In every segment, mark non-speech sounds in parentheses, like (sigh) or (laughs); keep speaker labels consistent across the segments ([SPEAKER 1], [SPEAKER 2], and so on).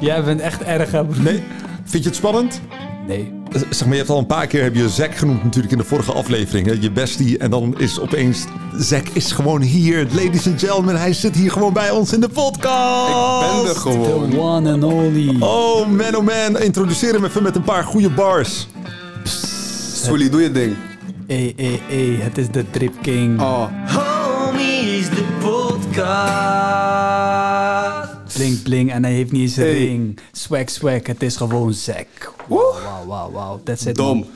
[SPEAKER 1] Jij bent echt erg, hè, broer?
[SPEAKER 2] Nee? Vind je het spannend?
[SPEAKER 1] Nee.
[SPEAKER 2] Eh, Zeg maar, je hebt al een paar keer heb je Zack genoemd natuurlijk in de vorige aflevering. Hè? Je bestie en dan is opeens... Zack is gewoon hier, ladies and gentlemen. Hij zit hier gewoon bij ons in de podcast.
[SPEAKER 3] Ik ben er gewoon.
[SPEAKER 1] The one and only.
[SPEAKER 2] Oh man, oh man. Introduceer hem even met een paar goede bars.
[SPEAKER 3] Soelie, doe je ding.
[SPEAKER 1] Ey, ey, ey, het is de Trip King.
[SPEAKER 3] Oh,
[SPEAKER 4] Homies, de podcast.
[SPEAKER 1] Bling, bling, en hij heeft niet eens een
[SPEAKER 3] Hey.
[SPEAKER 1] ring. Swag, swag, het is gewoon Zack. Wauw, wauw, wauw, wauw. That's it,
[SPEAKER 3] dom.
[SPEAKER 1] man.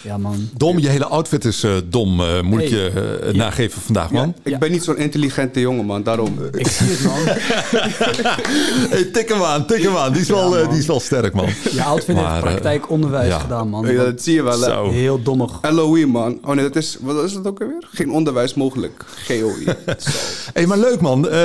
[SPEAKER 1] Ja, man.
[SPEAKER 2] Dom, je hele outfit is eh, dom, eh, moet ik
[SPEAKER 1] Hey.
[SPEAKER 2] je eh, nageven vandaag, man.
[SPEAKER 3] Ik ben niet zo'n intelligente jongen, man. Daarom. eh,
[SPEAKER 1] Ik zie het,
[SPEAKER 3] (laughs)
[SPEAKER 1] man.
[SPEAKER 2] Hey, tik hem aan, tik hem aan. Die is, wel, eh, die is wel sterk, man.
[SPEAKER 1] Je outfit heeft
[SPEAKER 2] Maar, eh,
[SPEAKER 1] praktijk onderwijs
[SPEAKER 2] ja.
[SPEAKER 1] gedaan, man.
[SPEAKER 3] eh, dat zie je wel. hè.
[SPEAKER 2] Zo.
[SPEAKER 1] Heel dommig.
[SPEAKER 3] LOE, man. Oh nee, dat is... Wat is dat ook alweer? Geen onderwijs mogelijk. E. GOI.
[SPEAKER 2] (laughs)
[SPEAKER 3] Zo.
[SPEAKER 2] Hé, maar leuk, man. Eh,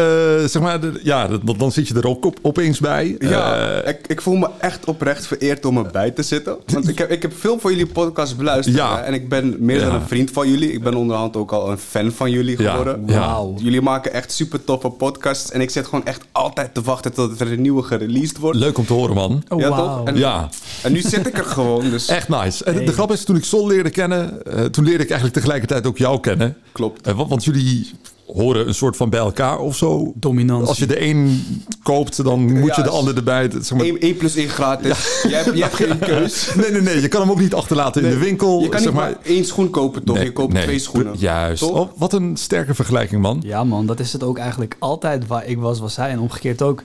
[SPEAKER 2] zeg maar, de- ja, dat- dat- dan zit je er ook op, opeens bij.
[SPEAKER 3] Ja,
[SPEAKER 2] Eh,
[SPEAKER 3] ik, ik voel me echt oprecht vereerd om erbij te zitten. Want ik heb, ik heb veel van jullie podcasts beluisterd.
[SPEAKER 2] Ja.
[SPEAKER 3] hè, En ik ben meer dan
[SPEAKER 2] Ja.
[SPEAKER 3] een vriend van jullie. Ik ben onderhand ook al een fan van jullie
[SPEAKER 2] Ja.
[SPEAKER 3] geworden.
[SPEAKER 2] Ja.
[SPEAKER 1] Wauw.
[SPEAKER 3] Jullie maken echt super toffe podcasts. En ik zit gewoon echt altijd te wachten tot er een nieuwe gereleased wordt.
[SPEAKER 2] leuk om te horen, man.
[SPEAKER 1] Oh,
[SPEAKER 3] Ja,
[SPEAKER 1] wauw.
[SPEAKER 3] toch? En-
[SPEAKER 2] Ja,
[SPEAKER 3] En nu zit ik er gewoon, dus...
[SPEAKER 2] (laughs) echt nice. En De
[SPEAKER 1] Hey.
[SPEAKER 2] grap is, toen ik Sol leerde kennen, eh, toen leerde ik eigenlijk tegelijkertijd ook jou kennen.
[SPEAKER 3] Klopt.
[SPEAKER 2] Eh, want, want jullie horen een soort van bij elkaar of zo.
[SPEAKER 1] Dominantie.
[SPEAKER 2] Als je de een koopt, dan moet je
[SPEAKER 3] Ja,
[SPEAKER 2] de
[SPEAKER 3] is-
[SPEAKER 2] ander erbij. Dat- Zeg maar,
[SPEAKER 3] 1, plus 1 gratis. Jij, hebt, jij hebt
[SPEAKER 2] (laughs)
[SPEAKER 3] geen keus.
[SPEAKER 2] Nee, nee, nee. Je kan hem ook niet achterlaten in de winkel.
[SPEAKER 3] Je kan
[SPEAKER 2] zeg
[SPEAKER 3] niet maar één schoen kopen, toch?
[SPEAKER 2] Nee,
[SPEAKER 3] je koopt
[SPEAKER 2] nee,
[SPEAKER 3] twee schoenen.
[SPEAKER 2] Juist.
[SPEAKER 3] Toch?
[SPEAKER 2] Oh, wat een sterke vergelijking, man.
[SPEAKER 1] Ja, man, dat is het ook eigenlijk. Altijd waar ik was, was hij. En omgekeerd ook.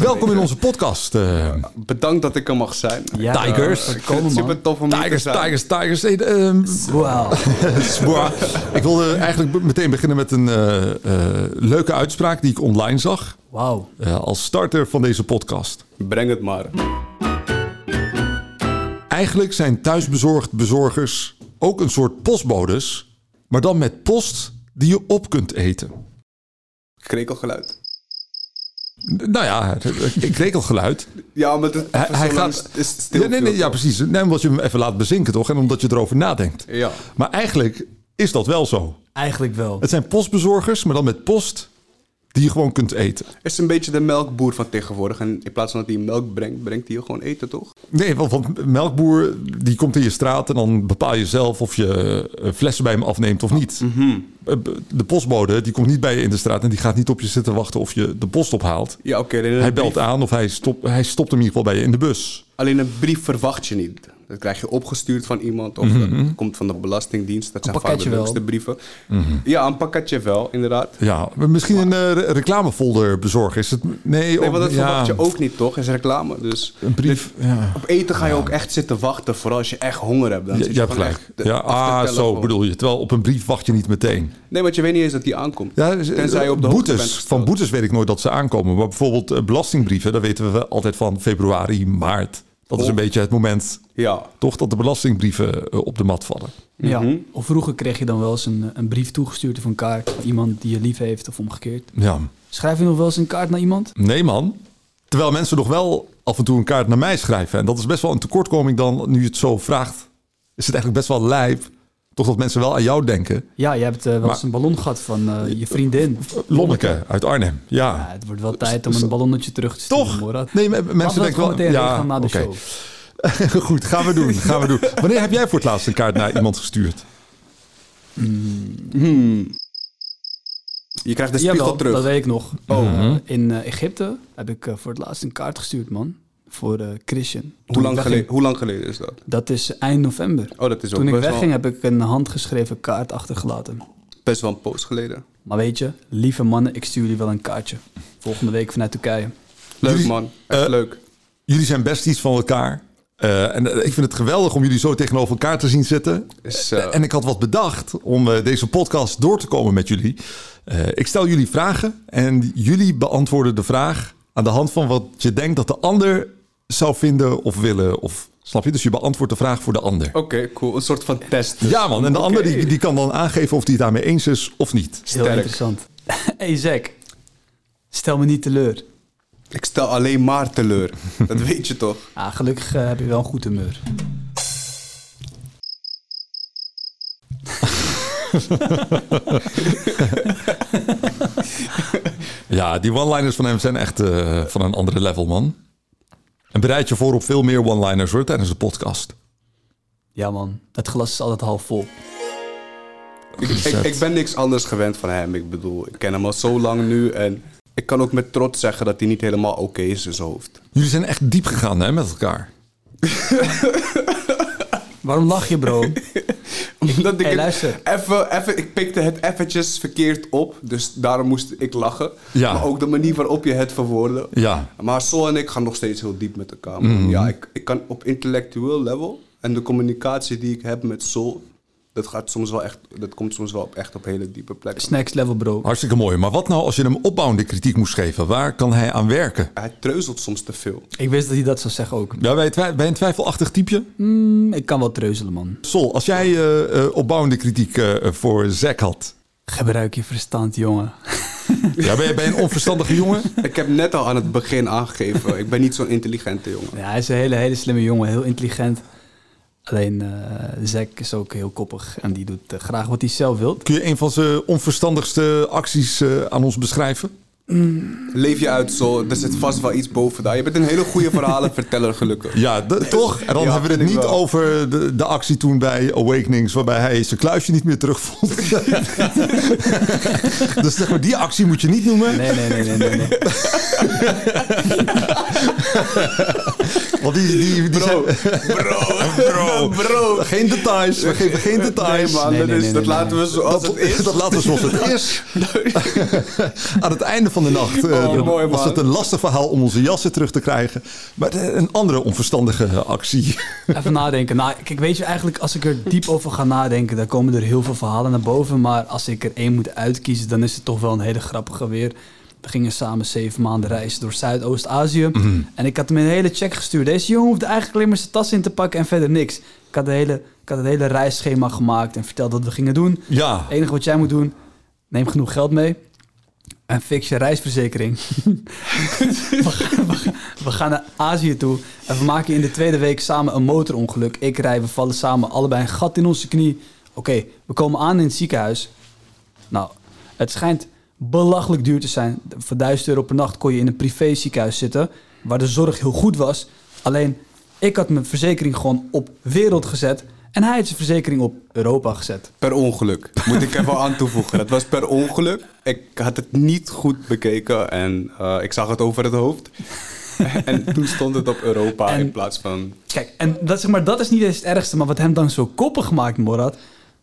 [SPEAKER 2] Welkom in onze podcast. eh,
[SPEAKER 3] Bedankt dat ik er mag zijn.
[SPEAKER 1] Ja,
[SPEAKER 2] Tigers.
[SPEAKER 1] man.
[SPEAKER 3] Ik vind
[SPEAKER 1] Kom,
[SPEAKER 3] het
[SPEAKER 1] man.
[SPEAKER 3] super tof om hier
[SPEAKER 2] Tigers,
[SPEAKER 3] te zijn.
[SPEAKER 2] Tigers, Tigers. Hey, eh, ehm,
[SPEAKER 1] Wauw.
[SPEAKER 2] Boah. ik wilde eigenlijk be- meteen beginnen met een eh, eh, leuke uitspraak die ik online zag.
[SPEAKER 1] Wauw.
[SPEAKER 2] eh, als starter van deze podcast.
[SPEAKER 3] Breng het maar.
[SPEAKER 2] Eigenlijk zijn thuisbezorgd bezorgers ook een soort postbodes, maar dan met post die je op kunt eten.
[SPEAKER 3] Krekelgeluid.
[SPEAKER 2] N- Nou ja, (laughs) ik kreeg al geluid.
[SPEAKER 3] Ja, maar het
[SPEAKER 2] Hij, hij gaat.
[SPEAKER 3] is stil.
[SPEAKER 2] Ja, nee, nee, ja, precies. Nee, omdat je hem even laat bezinken, toch? En omdat je erover nadenkt.
[SPEAKER 3] Ja.
[SPEAKER 2] Maar eigenlijk is dat wel zo.
[SPEAKER 1] Eigenlijk wel.
[SPEAKER 2] Het zijn postbezorgers, maar dan met post die je gewoon kunt eten.
[SPEAKER 3] Is een beetje de melkboer van tegenwoordig. En in plaats van dat hij melk brengt, brengt hij je gewoon eten, toch?
[SPEAKER 2] Nee, want, want melkboer die komt in je straat en dan bepaal je zelf of je eh, flessen bij hem afneemt of niet.
[SPEAKER 3] Mhm.
[SPEAKER 2] Eh, b- De postbode die komt niet bij je in de straat en die gaat niet op je zitten wachten of je de post ophaalt.
[SPEAKER 3] Ja, oké. alleen een
[SPEAKER 2] Hij belt
[SPEAKER 3] brief-
[SPEAKER 2] aan of hij, stop, hij stopt hem in ieder geval bij je in de bus.
[SPEAKER 3] Alleen een brief verwacht je niet. Dat krijg je opgestuurd van iemand of
[SPEAKER 2] Mhm.
[SPEAKER 3] dat komt van de Belastingdienst. Dat zijn vaak
[SPEAKER 1] pakketje
[SPEAKER 3] de
[SPEAKER 1] wel.
[SPEAKER 3] leukste brieven.
[SPEAKER 2] Mhm.
[SPEAKER 3] Ja, een pakketje wel, inderdaad.
[SPEAKER 2] Ja, maar misschien een eh, re- reclamefolder bezorgen. Is het, nee,
[SPEAKER 3] Nee, want dat
[SPEAKER 2] ja,
[SPEAKER 3] verwacht je ook niet, toch? Het is reclame, dus...
[SPEAKER 2] Een brief. Ja,
[SPEAKER 3] Op eten ga je ook echt zitten wachten, vooral als je echt honger hebt. Dan
[SPEAKER 2] je,
[SPEAKER 3] zit
[SPEAKER 2] je hebt
[SPEAKER 3] gewoon
[SPEAKER 2] gelijk.
[SPEAKER 3] echt de-
[SPEAKER 2] Ja,
[SPEAKER 3] af te
[SPEAKER 2] ah,
[SPEAKER 3] tellen
[SPEAKER 2] zo
[SPEAKER 3] gewoon.
[SPEAKER 2] bedoel je. Terwijl op een brief wacht je niet meteen.
[SPEAKER 3] Nee, want je weet niet eens dat die aankomt.
[SPEAKER 2] Ja, dus, eh,
[SPEAKER 3] Tenzij je op de hoogte bent
[SPEAKER 2] boetes.
[SPEAKER 3] gesteld.
[SPEAKER 2] Van boetes weet ik nooit dat ze aankomen. Maar bijvoorbeeld eh, belastingbrieven, daar weten we altijd van februari, maart. Dat is een
[SPEAKER 3] Oh.
[SPEAKER 2] beetje het moment
[SPEAKER 3] Ja,
[SPEAKER 2] toch dat de belastingbrieven eh, op de mat vallen.
[SPEAKER 1] Ja. Of vroeger kreeg je dan wel eens een, eh, een brief toegestuurd of een kaart van iemand die je lief heeft of omgekeerd.
[SPEAKER 2] Ja.
[SPEAKER 1] Schrijf je nog wel eens een kaart naar iemand?
[SPEAKER 2] Nee man. Terwijl mensen nog wel af en toe een kaart naar mij schrijven. En dat is best wel een tekortkoming dan, nu je het zo vraagt. Is het eigenlijk best wel lijp. Toch dat mensen wel aan jou denken.
[SPEAKER 1] Ja, je hebt eh, wel eens
[SPEAKER 2] Maar-
[SPEAKER 1] een ballon gehad van eh, je vriendin.
[SPEAKER 2] Lonneke uit Arnhem.
[SPEAKER 1] Ja,
[SPEAKER 2] Ja.
[SPEAKER 1] het wordt wel tijd om een ballonnetje terug te sturen.
[SPEAKER 2] Toch?
[SPEAKER 1] hoor. Dat-
[SPEAKER 2] Nee, maar
[SPEAKER 1] Laten
[SPEAKER 2] mensen
[SPEAKER 1] we het
[SPEAKER 2] denken
[SPEAKER 1] gewoon
[SPEAKER 2] wel...
[SPEAKER 1] meteen
[SPEAKER 2] Ja,
[SPEAKER 1] gaan naar de
[SPEAKER 2] oké.
[SPEAKER 1] show.
[SPEAKER 2] (laughs) Goed, gaan we doen. Gaan we doen. Wanneer heb jij voor het laatst een kaart naar iemand gestuurd? Hmm.
[SPEAKER 3] je krijgt de spiegel
[SPEAKER 1] Jawel,
[SPEAKER 3] terug.
[SPEAKER 1] dat weet ik nog.
[SPEAKER 3] Oh.
[SPEAKER 1] Eh, in eh, Egypte heb ik eh, voor het laatst een kaart gestuurd, man. Voor eh, Christian. Toen
[SPEAKER 3] Hoe,
[SPEAKER 1] ik
[SPEAKER 3] lang
[SPEAKER 1] wegging-
[SPEAKER 3] geleden, hoe lang geleden is dat?
[SPEAKER 1] Dat is eind november.
[SPEAKER 3] Oh, dat is ook
[SPEAKER 1] Toen ik
[SPEAKER 3] best wel-
[SPEAKER 1] wegging heb ik een handgeschreven kaart achtergelaten.
[SPEAKER 3] Best wel een poos geleden.
[SPEAKER 1] Maar weet je, lieve mannen, ik stuur jullie wel een kaartje. Volgende week vanuit Turkije.
[SPEAKER 3] Leuk
[SPEAKER 2] Jullie-
[SPEAKER 3] man, echt
[SPEAKER 2] Eh,
[SPEAKER 3] leuk.
[SPEAKER 2] Jullie zijn best iets van elkaar. Eh, en eh, ik vind het geweldig om jullie zo tegenover elkaar te zien zitten.
[SPEAKER 3] Is, eh,
[SPEAKER 2] Eh, en ik had wat bedacht om eh, deze podcast door te komen met jullie. Eh, ik stel jullie vragen en jullie beantwoorden de vraag aan de hand van wat je denkt dat de ander zou vinden of willen. Of, snap je? Dus je beantwoordt de vraag voor de ander.
[SPEAKER 3] Oké, cool. Een soort van test.
[SPEAKER 2] Ja man, en de
[SPEAKER 3] Oké.
[SPEAKER 2] ander die, die kan dan aangeven of hij het daarmee eens is of niet.
[SPEAKER 1] Heel
[SPEAKER 3] Sterk.
[SPEAKER 1] interessant. (laughs) hey Zack, stel me niet teleur.
[SPEAKER 3] Ik stel alleen maar teleur.
[SPEAKER 2] (laughs)
[SPEAKER 3] dat weet je toch?
[SPEAKER 1] Ah, gelukkig eh, heb je wel een goed humeur.
[SPEAKER 2] Ja, die one-liners van hem zijn echt eh, van een andere level, man. En bereid je voor op veel meer one-liners hoor, tijdens de podcast.
[SPEAKER 1] Ja man, het glas is altijd half vol.
[SPEAKER 3] Ik, ik, ik ben niks anders gewend van hem. Ik bedoel, ik ken hem al zo lang nu. En ik kan ook met trots zeggen dat hij niet helemaal oké is in zijn hoofd.
[SPEAKER 2] Jullie zijn echt diep gegaan hè, met elkaar.
[SPEAKER 1] Waarom lach je (laughs) bro?
[SPEAKER 3] (laughs) Omdat ik
[SPEAKER 1] hey,
[SPEAKER 3] het
[SPEAKER 1] luister.
[SPEAKER 3] Even, even, ik pikte het eventjes verkeerd op. Dus daarom moest ik lachen.
[SPEAKER 2] Ja.
[SPEAKER 3] Maar ook de manier waarop je het verwoordde.
[SPEAKER 2] Ja. Mhm.
[SPEAKER 3] Maar Sol en ik gaan nog steeds heel diep met elkaar. man. Ja, ik, ik kan op intellectueel level. En de communicatie die ik heb met Sol. Dat, gaat soms wel echt, dat komt soms wel op, echt op hele diepe plekken.
[SPEAKER 1] Snacks level bro.
[SPEAKER 2] Hartstikke mooi. Maar wat nou als je hem opbouwende kritiek moest geven? Waar kan hij aan werken?
[SPEAKER 3] Hij treuzelt soms te veel.
[SPEAKER 1] Ik wist dat hij dat zou zeggen ook.
[SPEAKER 2] Ja, ben, je twi- ben je een twijfelachtig typeje?
[SPEAKER 1] Hm, Ik kan wel treuzelen man.
[SPEAKER 2] Sol, als jij eh, eh, opbouwende kritiek eh, eh, voor Zack had...
[SPEAKER 1] Gebruik je verstand jongen.
[SPEAKER 2] Ja, ben, je, ben je een onverstandige jongen?
[SPEAKER 3] Ik heb net al aan het begin aangegeven. ik ben niet zo'n intelligente jongen.
[SPEAKER 1] Ja, hij is een hele, hele slimme jongen, heel intelligent. Alleen eh Zack is ook heel koppig en die doet eh, graag wat hij zelf wilt.
[SPEAKER 2] Kun je een van zijn onverstandigste acties eh, aan ons beschrijven?
[SPEAKER 3] Leef je uit, Sol. Er zit vast wel iets boven daar. Je bent een hele goede verhalenverteller, gelukkig.
[SPEAKER 2] Ja, d- toch? En dan
[SPEAKER 3] Ja,
[SPEAKER 2] hebben we het
[SPEAKER 3] vind ik
[SPEAKER 2] niet
[SPEAKER 3] wel.
[SPEAKER 2] over de, de actie toen bij Awakenings... waarbij hij zijn kluisje niet meer terugvond. (laughs) dus zeg maar, die actie moet je niet noemen.
[SPEAKER 1] Nee, nee, nee, nee, nee. nee.
[SPEAKER 2] Want die, die, die zijn...
[SPEAKER 3] Bro, (laughs) bro.
[SPEAKER 2] Geen details, we geven geen details.
[SPEAKER 3] Nee, man,
[SPEAKER 1] Nee,
[SPEAKER 3] dat,
[SPEAKER 1] nee,
[SPEAKER 3] is,
[SPEAKER 1] nee,
[SPEAKER 3] dat
[SPEAKER 1] nee,
[SPEAKER 3] laten
[SPEAKER 1] nee.
[SPEAKER 3] we zoals
[SPEAKER 2] dat,
[SPEAKER 3] het (laughs) is.
[SPEAKER 2] dat laten we zoals het is. Aan het einde van de nacht eh,
[SPEAKER 3] Oh, mooi,
[SPEAKER 2] was
[SPEAKER 3] man.
[SPEAKER 2] het een lastig verhaal om onze jassen terug te krijgen. Maar eh, een andere onverstandige actie. (laughs)
[SPEAKER 1] Even nadenken. Nou, kijk, weet je, eigenlijk als ik er diep over ga nadenken, dan komen er heel veel verhalen naar boven. Maar als ik er één moet uitkiezen, dan is het toch wel een hele grappige weer. We gingen samen zeven maanden reizen door Zuidoost-Azië. En ik had hem een hele check gestuurd. Deze jongen hoefde eigenlijk alleen maar zijn tas in te pakken en verder niks. Ik had, de hele, ik had het hele reisschema gemaakt en verteld wat we gingen doen.
[SPEAKER 2] Ja,
[SPEAKER 1] Het enige wat jij moet doen, neem genoeg geld mee en fix je reisverzekering. (laughs) we, gaan, we gaan- we gaan naar Azië toe en we maken in de tweede week samen een motorongeluk. Ik rij, we vallen samen allebei een gat in onze knie. Oké, we komen aan in het ziekenhuis. Nou, het schijnt belachelijk duur te zijn. Voor 1000 euro per nacht kon je in een privé ziekenhuis zitten, waar de zorg heel goed was. Alleen, ik had mijn verzekering gewoon op wereld gezet en hij had zijn verzekering op Europa gezet.
[SPEAKER 3] Per ongeluk, moet ik even aan toevoegen. Dat was per ongeluk. Ik had het niet goed bekeken en eh, ik zag het over het hoofd. (laughs) en toen stond het op Europa
[SPEAKER 1] En-
[SPEAKER 3] in plaats van...
[SPEAKER 1] Kijk, en dat, zeg maar, dat is niet eens het ergste, maar wat hem dan zo koppig maakt, Morad.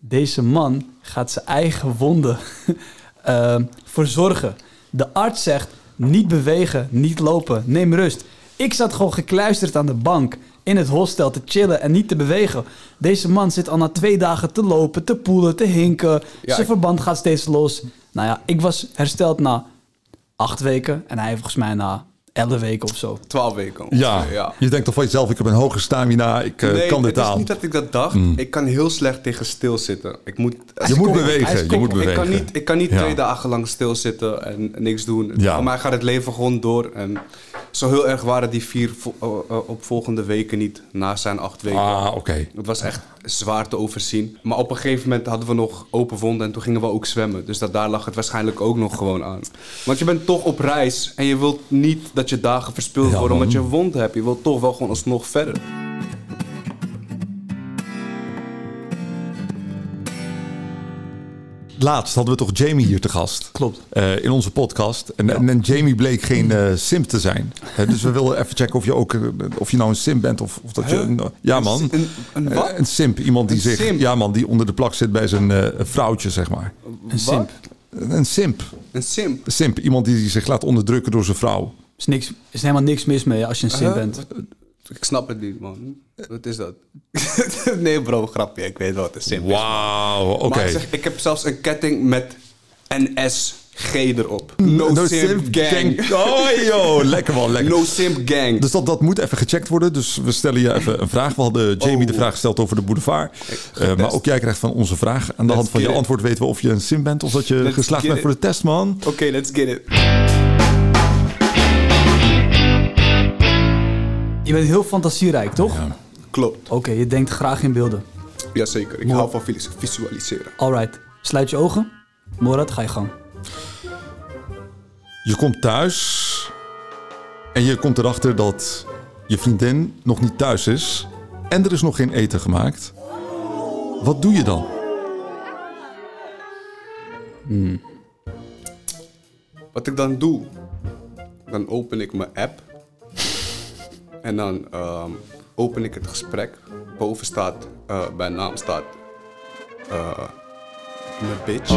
[SPEAKER 1] Deze man gaat zijn eigen wonden (laughs) ehm, verzorgen. De arts zegt: niet bewegen, niet lopen, neem rust. Ik zat gewoon gekluisterd aan de bank in het hostel te chillen en niet te bewegen. Deze man zit al na twee dagen te lopen, te poelen, te hinken.
[SPEAKER 3] Ja,
[SPEAKER 1] zijn
[SPEAKER 3] ik-
[SPEAKER 1] verband gaat steeds los. Nou ja, ik was hersteld na acht weken en hij volgens mij na elf weken of zo.
[SPEAKER 3] Twaalf weken.
[SPEAKER 2] ja.
[SPEAKER 3] ongeveer, ja.
[SPEAKER 2] je denkt toch van jezelf, ik heb een hoge stamina, ik eh,
[SPEAKER 3] Nee,
[SPEAKER 2] kan dit
[SPEAKER 3] het is
[SPEAKER 2] aan. Hmm.
[SPEAKER 3] niet dat ik dat dacht. Ik kan heel slecht tegen stilzitten. Ik moet,
[SPEAKER 2] Je moet
[SPEAKER 1] hij is
[SPEAKER 2] bewegen, je
[SPEAKER 1] koppig.
[SPEAKER 2] moet bewegen.
[SPEAKER 3] Ik kan niet, ik kan niet
[SPEAKER 2] Ja.
[SPEAKER 3] twee dagen lang stilzitten en niks doen.
[SPEAKER 2] Ja.
[SPEAKER 3] Voor mij gaat het leven gewoon door. En zo heel erg waren die vier vo- eh, eh, opvolgende weken niet na zijn acht weken.
[SPEAKER 2] Ah, oké.
[SPEAKER 3] Het was echt zwaar te overzien. Maar op een gegeven moment hadden we nog open wonden en toen gingen we ook zwemmen. Dus dat, daar lag het waarschijnlijk ook nog gewoon aan. Want je bent toch op reis en je wilt niet dat je dagen verspild
[SPEAKER 2] Ja,
[SPEAKER 3] worden omdat
[SPEAKER 2] man.
[SPEAKER 3] je een wond hebt. Je wilt toch wel gewoon alsnog verder.
[SPEAKER 2] Laatst hadden we toch Jamie hier te gast.
[SPEAKER 1] Klopt.
[SPEAKER 2] Eh, in onze podcast. En, en, en Jamie bleek geen eh simp te zijn. Hè, dus we wilden even checken of je ook eh, of je nou een simp bent of, of dat je. een- ja, man.
[SPEAKER 3] Een, een wat?
[SPEAKER 2] Eh, Een simp, iemand die
[SPEAKER 3] Een
[SPEAKER 2] zich,
[SPEAKER 3] simp?
[SPEAKER 2] ja man, die onder de plak zit bij zijn eh, vrouwtje, zeg maar.
[SPEAKER 1] Een simp.
[SPEAKER 2] Een simp,
[SPEAKER 3] Een simp.
[SPEAKER 2] Een simp, iemand die zich laat onderdrukken door zijn vrouw.
[SPEAKER 1] is, niks, is helemaal niks mis mee als je een sim
[SPEAKER 3] Huh?
[SPEAKER 1] bent.
[SPEAKER 3] Ik snap het niet, man. Wat is dat? (laughs) nee, bro, grapje. Ik weet wel wat een simp is.
[SPEAKER 2] Wauw, oké.
[SPEAKER 3] Maar ik, zeg, ik heb zelfs een ketting met NSG erop. No, simp, gang.
[SPEAKER 2] Oh joh, lekker wel, lekker.
[SPEAKER 3] (laughs) No simp gang.
[SPEAKER 2] Dus dat, dat moet even gecheckt worden. Dus we stellen je even een vraag. We hadden Jamie
[SPEAKER 3] Oh.
[SPEAKER 2] de vraag gesteld over de boulevard. Eh, maar ook jij krijgt van onze vraag. Aan de hand van
[SPEAKER 3] get
[SPEAKER 2] je
[SPEAKER 3] it.
[SPEAKER 2] antwoord weten we of je een simp bent... of dat je
[SPEAKER 3] Let's
[SPEAKER 2] geslaagd
[SPEAKER 3] get
[SPEAKER 2] bent
[SPEAKER 3] it.
[SPEAKER 2] voor de test, man.
[SPEAKER 3] Oké, let's get it.
[SPEAKER 1] Je bent heel fantasierijk, toch?
[SPEAKER 3] Klopt.
[SPEAKER 1] Oké, je denkt graag in beelden.
[SPEAKER 3] Jazeker. Ik hou van vis- visualiseren.
[SPEAKER 1] Alright, sluit je ogen. Morad, ga je gang.
[SPEAKER 2] Je komt thuis en je komt erachter dat je vriendin nog niet thuis is en er is nog geen eten gemaakt. Wat doe je dan?
[SPEAKER 3] Wat ik dan doe, dan open ik mijn app. en dan ehm, open ik het gesprek. Boven staat, eh, bij naam staat, eh, mijn bitch.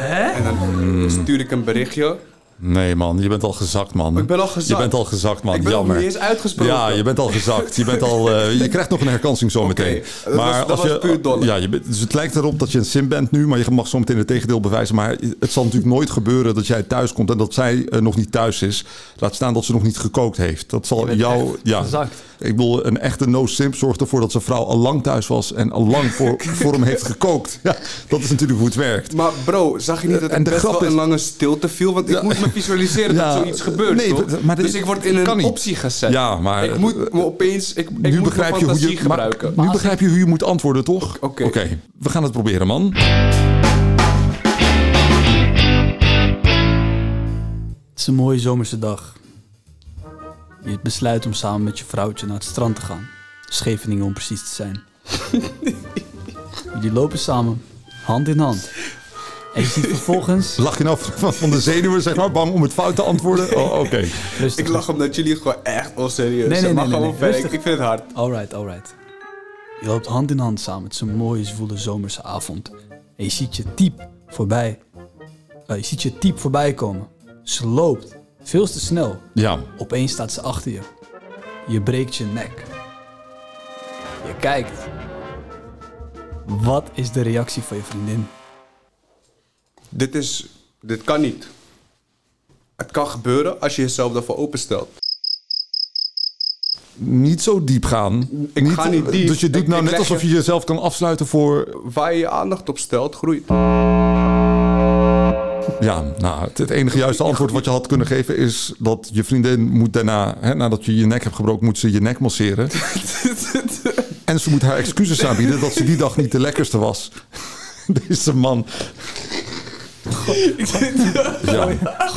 [SPEAKER 1] Hè?
[SPEAKER 3] En dan stuur ik een berichtje.
[SPEAKER 2] Nee man, je bent al gezakt man.
[SPEAKER 3] Ik ben al gezakt.
[SPEAKER 2] Je bent al gezakt man,
[SPEAKER 3] Ik ben nog
[SPEAKER 2] jammer.
[SPEAKER 3] niet eens uitgesproken.
[SPEAKER 2] Ja, je bent al gezakt. Je, bent
[SPEAKER 3] (laughs)
[SPEAKER 2] al, eh, je krijgt nog een herkansing zometeen.
[SPEAKER 3] dat was- dat was puur dolle.
[SPEAKER 2] Ja, je bent, dus het lijkt erop dat je een sim bent nu, maar je mag zometeen het tegendeel bewijzen. Maar het zal natuurlijk nooit gebeuren dat jij thuis komt en dat zij eh, nog niet thuis is. Laat staan dat ze nog niet gekookt heeft. Dat zal
[SPEAKER 1] bent
[SPEAKER 2] jou...
[SPEAKER 1] echt
[SPEAKER 2] Ja,
[SPEAKER 1] gezakt.
[SPEAKER 2] ik bedoel, een echte no-simp zorgt ervoor dat zijn vrouw al lang thuis was en al lang
[SPEAKER 3] (laughs)
[SPEAKER 2] voor, voor hem heeft gekookt. Ja, dat is natuurlijk hoe het werkt.
[SPEAKER 3] Maar bro, zag je niet dat
[SPEAKER 2] En
[SPEAKER 3] er
[SPEAKER 2] de
[SPEAKER 3] best
[SPEAKER 2] grap
[SPEAKER 3] wel
[SPEAKER 2] is-
[SPEAKER 3] een lange stilte viel? Want
[SPEAKER 2] Ja.
[SPEAKER 3] ik moet me visualiseren
[SPEAKER 2] Ja,
[SPEAKER 3] dat zoiets gebeurt,
[SPEAKER 2] nee,
[SPEAKER 3] toch?
[SPEAKER 2] maar dit-
[SPEAKER 3] dus ik word in
[SPEAKER 2] kan
[SPEAKER 3] een
[SPEAKER 2] niet.
[SPEAKER 3] optie gezet.
[SPEAKER 2] Ja, maar-
[SPEAKER 3] Ik moet me opeens... Ik, ik moet
[SPEAKER 2] begrijp je hoe
[SPEAKER 3] mijn
[SPEAKER 2] je-
[SPEAKER 3] fantasie
[SPEAKER 2] maar-
[SPEAKER 3] gebruiken.
[SPEAKER 2] nu begrijp je hoe je moet antwoorden, toch?
[SPEAKER 3] Oké.
[SPEAKER 2] we gaan het proberen, man.
[SPEAKER 1] Het is een mooie zomerse dag. Je besluit om samen met je vrouwtje naar het strand te gaan. Scheveningen om precies te
[SPEAKER 3] (laughs)
[SPEAKER 1] zijn. Jullie lopen samen, hand in hand. En je ziet vervolgens...
[SPEAKER 2] Lach je nou (laughs) van, van de zenuwen, zeg maar, bang om het fout te
[SPEAKER 3] (laughs)
[SPEAKER 2] antwoorden? Oh, oké.
[SPEAKER 1] Rustig.
[SPEAKER 3] Ik lach omdat jullie gewoon echt onserieus
[SPEAKER 1] Nee, nee,
[SPEAKER 3] zijn. Maar
[SPEAKER 1] nee, nee,
[SPEAKER 3] gewoon
[SPEAKER 1] nee.
[SPEAKER 3] verder.
[SPEAKER 1] Rustig.
[SPEAKER 3] Ik, ik vind het hard.
[SPEAKER 1] Alright, alright. Je loopt hand in hand samen. Het is een mooie, zwoele zomerse avond. En je ziet je type voorbij. eh, je ziet je type voorbij komen. Ze loopt veel te snel.
[SPEAKER 2] Ja,
[SPEAKER 1] Opeens staat ze achter je. Je breekt je nek. Je kijkt. Wat is de reactie van je vriendin?
[SPEAKER 3] Dit is... Dit kan niet. Het kan gebeuren als je jezelf daarvoor openstelt.
[SPEAKER 2] niet zo diep gaan.
[SPEAKER 3] Ik ga niet diep.
[SPEAKER 2] Dus je doet
[SPEAKER 3] Ik-
[SPEAKER 2] nou
[SPEAKER 3] ik
[SPEAKER 2] net
[SPEAKER 3] leg
[SPEAKER 2] alsof je
[SPEAKER 3] je-
[SPEAKER 2] jezelf kan afsluiten voor...
[SPEAKER 3] Waar je je aandacht op stelt, groeit.
[SPEAKER 2] Ja, nou, het, het enige juiste antwoord wat je had kunnen geven is... dat je vriendin moet daarna, hè, nadat je je nek hebt gebroken... moet ze je nek masseren. en ze moet haar excuses aanbieden dat ze die dag niet de lekkerste was. Deze man. Ja.
[SPEAKER 1] Gooi
[SPEAKER 3] (laughs)
[SPEAKER 1] die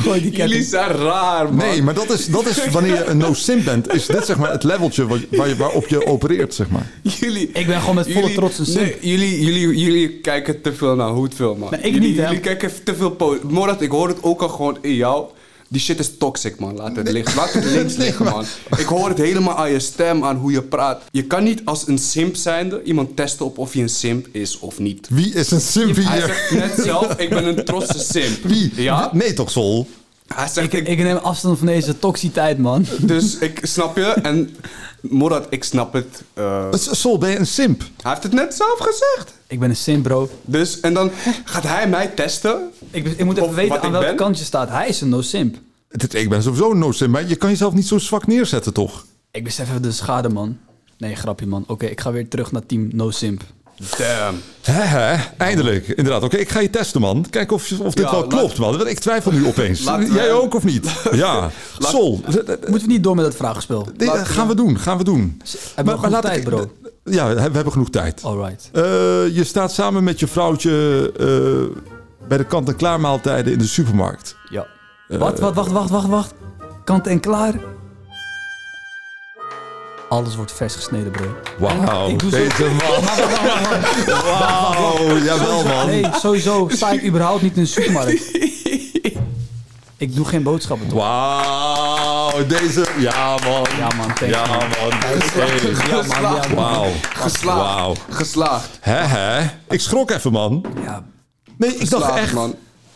[SPEAKER 3] Jullie
[SPEAKER 1] ketting.
[SPEAKER 3] zijn raar, man.
[SPEAKER 2] Nee, maar dat is, dat is wanneer je een no-sim bent. Is dit zeg maar het leveltje wat, waar je, waarop je opereert, zeg maar.
[SPEAKER 3] Jullie,
[SPEAKER 1] Ik ben gewoon met volle
[SPEAKER 3] jullie-
[SPEAKER 1] trots een simp.
[SPEAKER 3] Nee, jullie, jullie, jullie kijken te veel naar hoe het wil, man.
[SPEAKER 1] Nee, ik
[SPEAKER 3] jullie,
[SPEAKER 1] niet, hè.
[SPEAKER 3] Jullie kijken te veel... po- Morat, ik hoor het ook al gewoon in jou. Die shit is toxic, man. Laat het, liggen. Laat het links liggen, man. Ik hoor het helemaal aan je stem, aan hoe je praat. Je kan niet als een simp zijnde iemand testen op of je een simp is of niet.
[SPEAKER 2] Wie is een simp
[SPEAKER 3] Hij
[SPEAKER 2] hier?
[SPEAKER 3] zegt
[SPEAKER 1] (laughs)
[SPEAKER 3] net zelf, ik ben een trotse simp.
[SPEAKER 2] Wie?
[SPEAKER 3] Ja?
[SPEAKER 2] Nee toch, Sol?
[SPEAKER 3] Hij zegt,
[SPEAKER 1] Ik, ik neem afstand van deze toxiteit, man.
[SPEAKER 3] dus ik snap je. En Morat, ik snap het. eh,
[SPEAKER 2] S- Sol, ben je een simp?
[SPEAKER 3] hij heeft het net zelf gezegd.
[SPEAKER 1] Ik ben een sim, bro.
[SPEAKER 3] Dus, en dan gaat hij mij testen.
[SPEAKER 1] Ik, ik moet even
[SPEAKER 3] Of
[SPEAKER 1] weten
[SPEAKER 3] wat
[SPEAKER 1] aan
[SPEAKER 3] ik
[SPEAKER 1] welke
[SPEAKER 3] ben?
[SPEAKER 1] kant je staat. Hij is een no-simp.
[SPEAKER 2] Dit- Ik ben sowieso een no-simp, maar je kan jezelf niet zo zwak neerzetten, toch?
[SPEAKER 1] Ik besef even de schade, man. Nee, grapje, man. Oké, ik ga weer terug naar team no-simp.
[SPEAKER 3] Damn.
[SPEAKER 2] Hè, hè? Eindelijk, inderdaad. Oké, ik ga je testen, man. Kijk of, je- of dit
[SPEAKER 3] Ja,
[SPEAKER 2] wel
[SPEAKER 3] laat-
[SPEAKER 2] klopt, man. Want Ik twijfel
[SPEAKER 3] (laughs)
[SPEAKER 2] nu opeens.
[SPEAKER 3] Laten we-
[SPEAKER 2] Jij ook of
[SPEAKER 3] (laughs)
[SPEAKER 2] niet? Ja. Sol, z- d- d-
[SPEAKER 1] Moeten we niet door met dat vraagspel?
[SPEAKER 2] dit
[SPEAKER 3] laten we-
[SPEAKER 2] gaan we doen, gaan we doen.
[SPEAKER 1] we genoeg tijd, bro? Oh.
[SPEAKER 2] Ja, we hebben genoeg tijd.
[SPEAKER 1] Alright.
[SPEAKER 2] Eh, je staat samen met je vrouwtje eh, bij de kant-en-klaar maaltijden in de supermarkt.
[SPEAKER 1] Ja. Wat, wat, wacht, wacht, wacht, wacht. Kant en klaar. Alles wordt vers gesneden, bro. En
[SPEAKER 2] Wauw,
[SPEAKER 1] ik doe zo-
[SPEAKER 2] deze
[SPEAKER 1] (laughs)
[SPEAKER 2] man. Wauw, jawel man.
[SPEAKER 1] Nee, sowieso sta ik überhaupt niet in de supermarkt. Ik doe geen boodschappen, toch?
[SPEAKER 2] Wauw, deze... Ja man.
[SPEAKER 1] Ja, man, thanks,
[SPEAKER 2] Ja
[SPEAKER 1] man.
[SPEAKER 2] man. Hey.
[SPEAKER 1] Ja, man, ja, man.
[SPEAKER 2] Wauw.
[SPEAKER 3] Geslaagd.
[SPEAKER 2] Wauw.
[SPEAKER 3] Geslaagd.
[SPEAKER 2] Hè, hè? Ik schrok even man.
[SPEAKER 1] Ja,
[SPEAKER 2] Nee, ik dacht
[SPEAKER 3] Geslaagd,
[SPEAKER 2] echt...
[SPEAKER 3] man.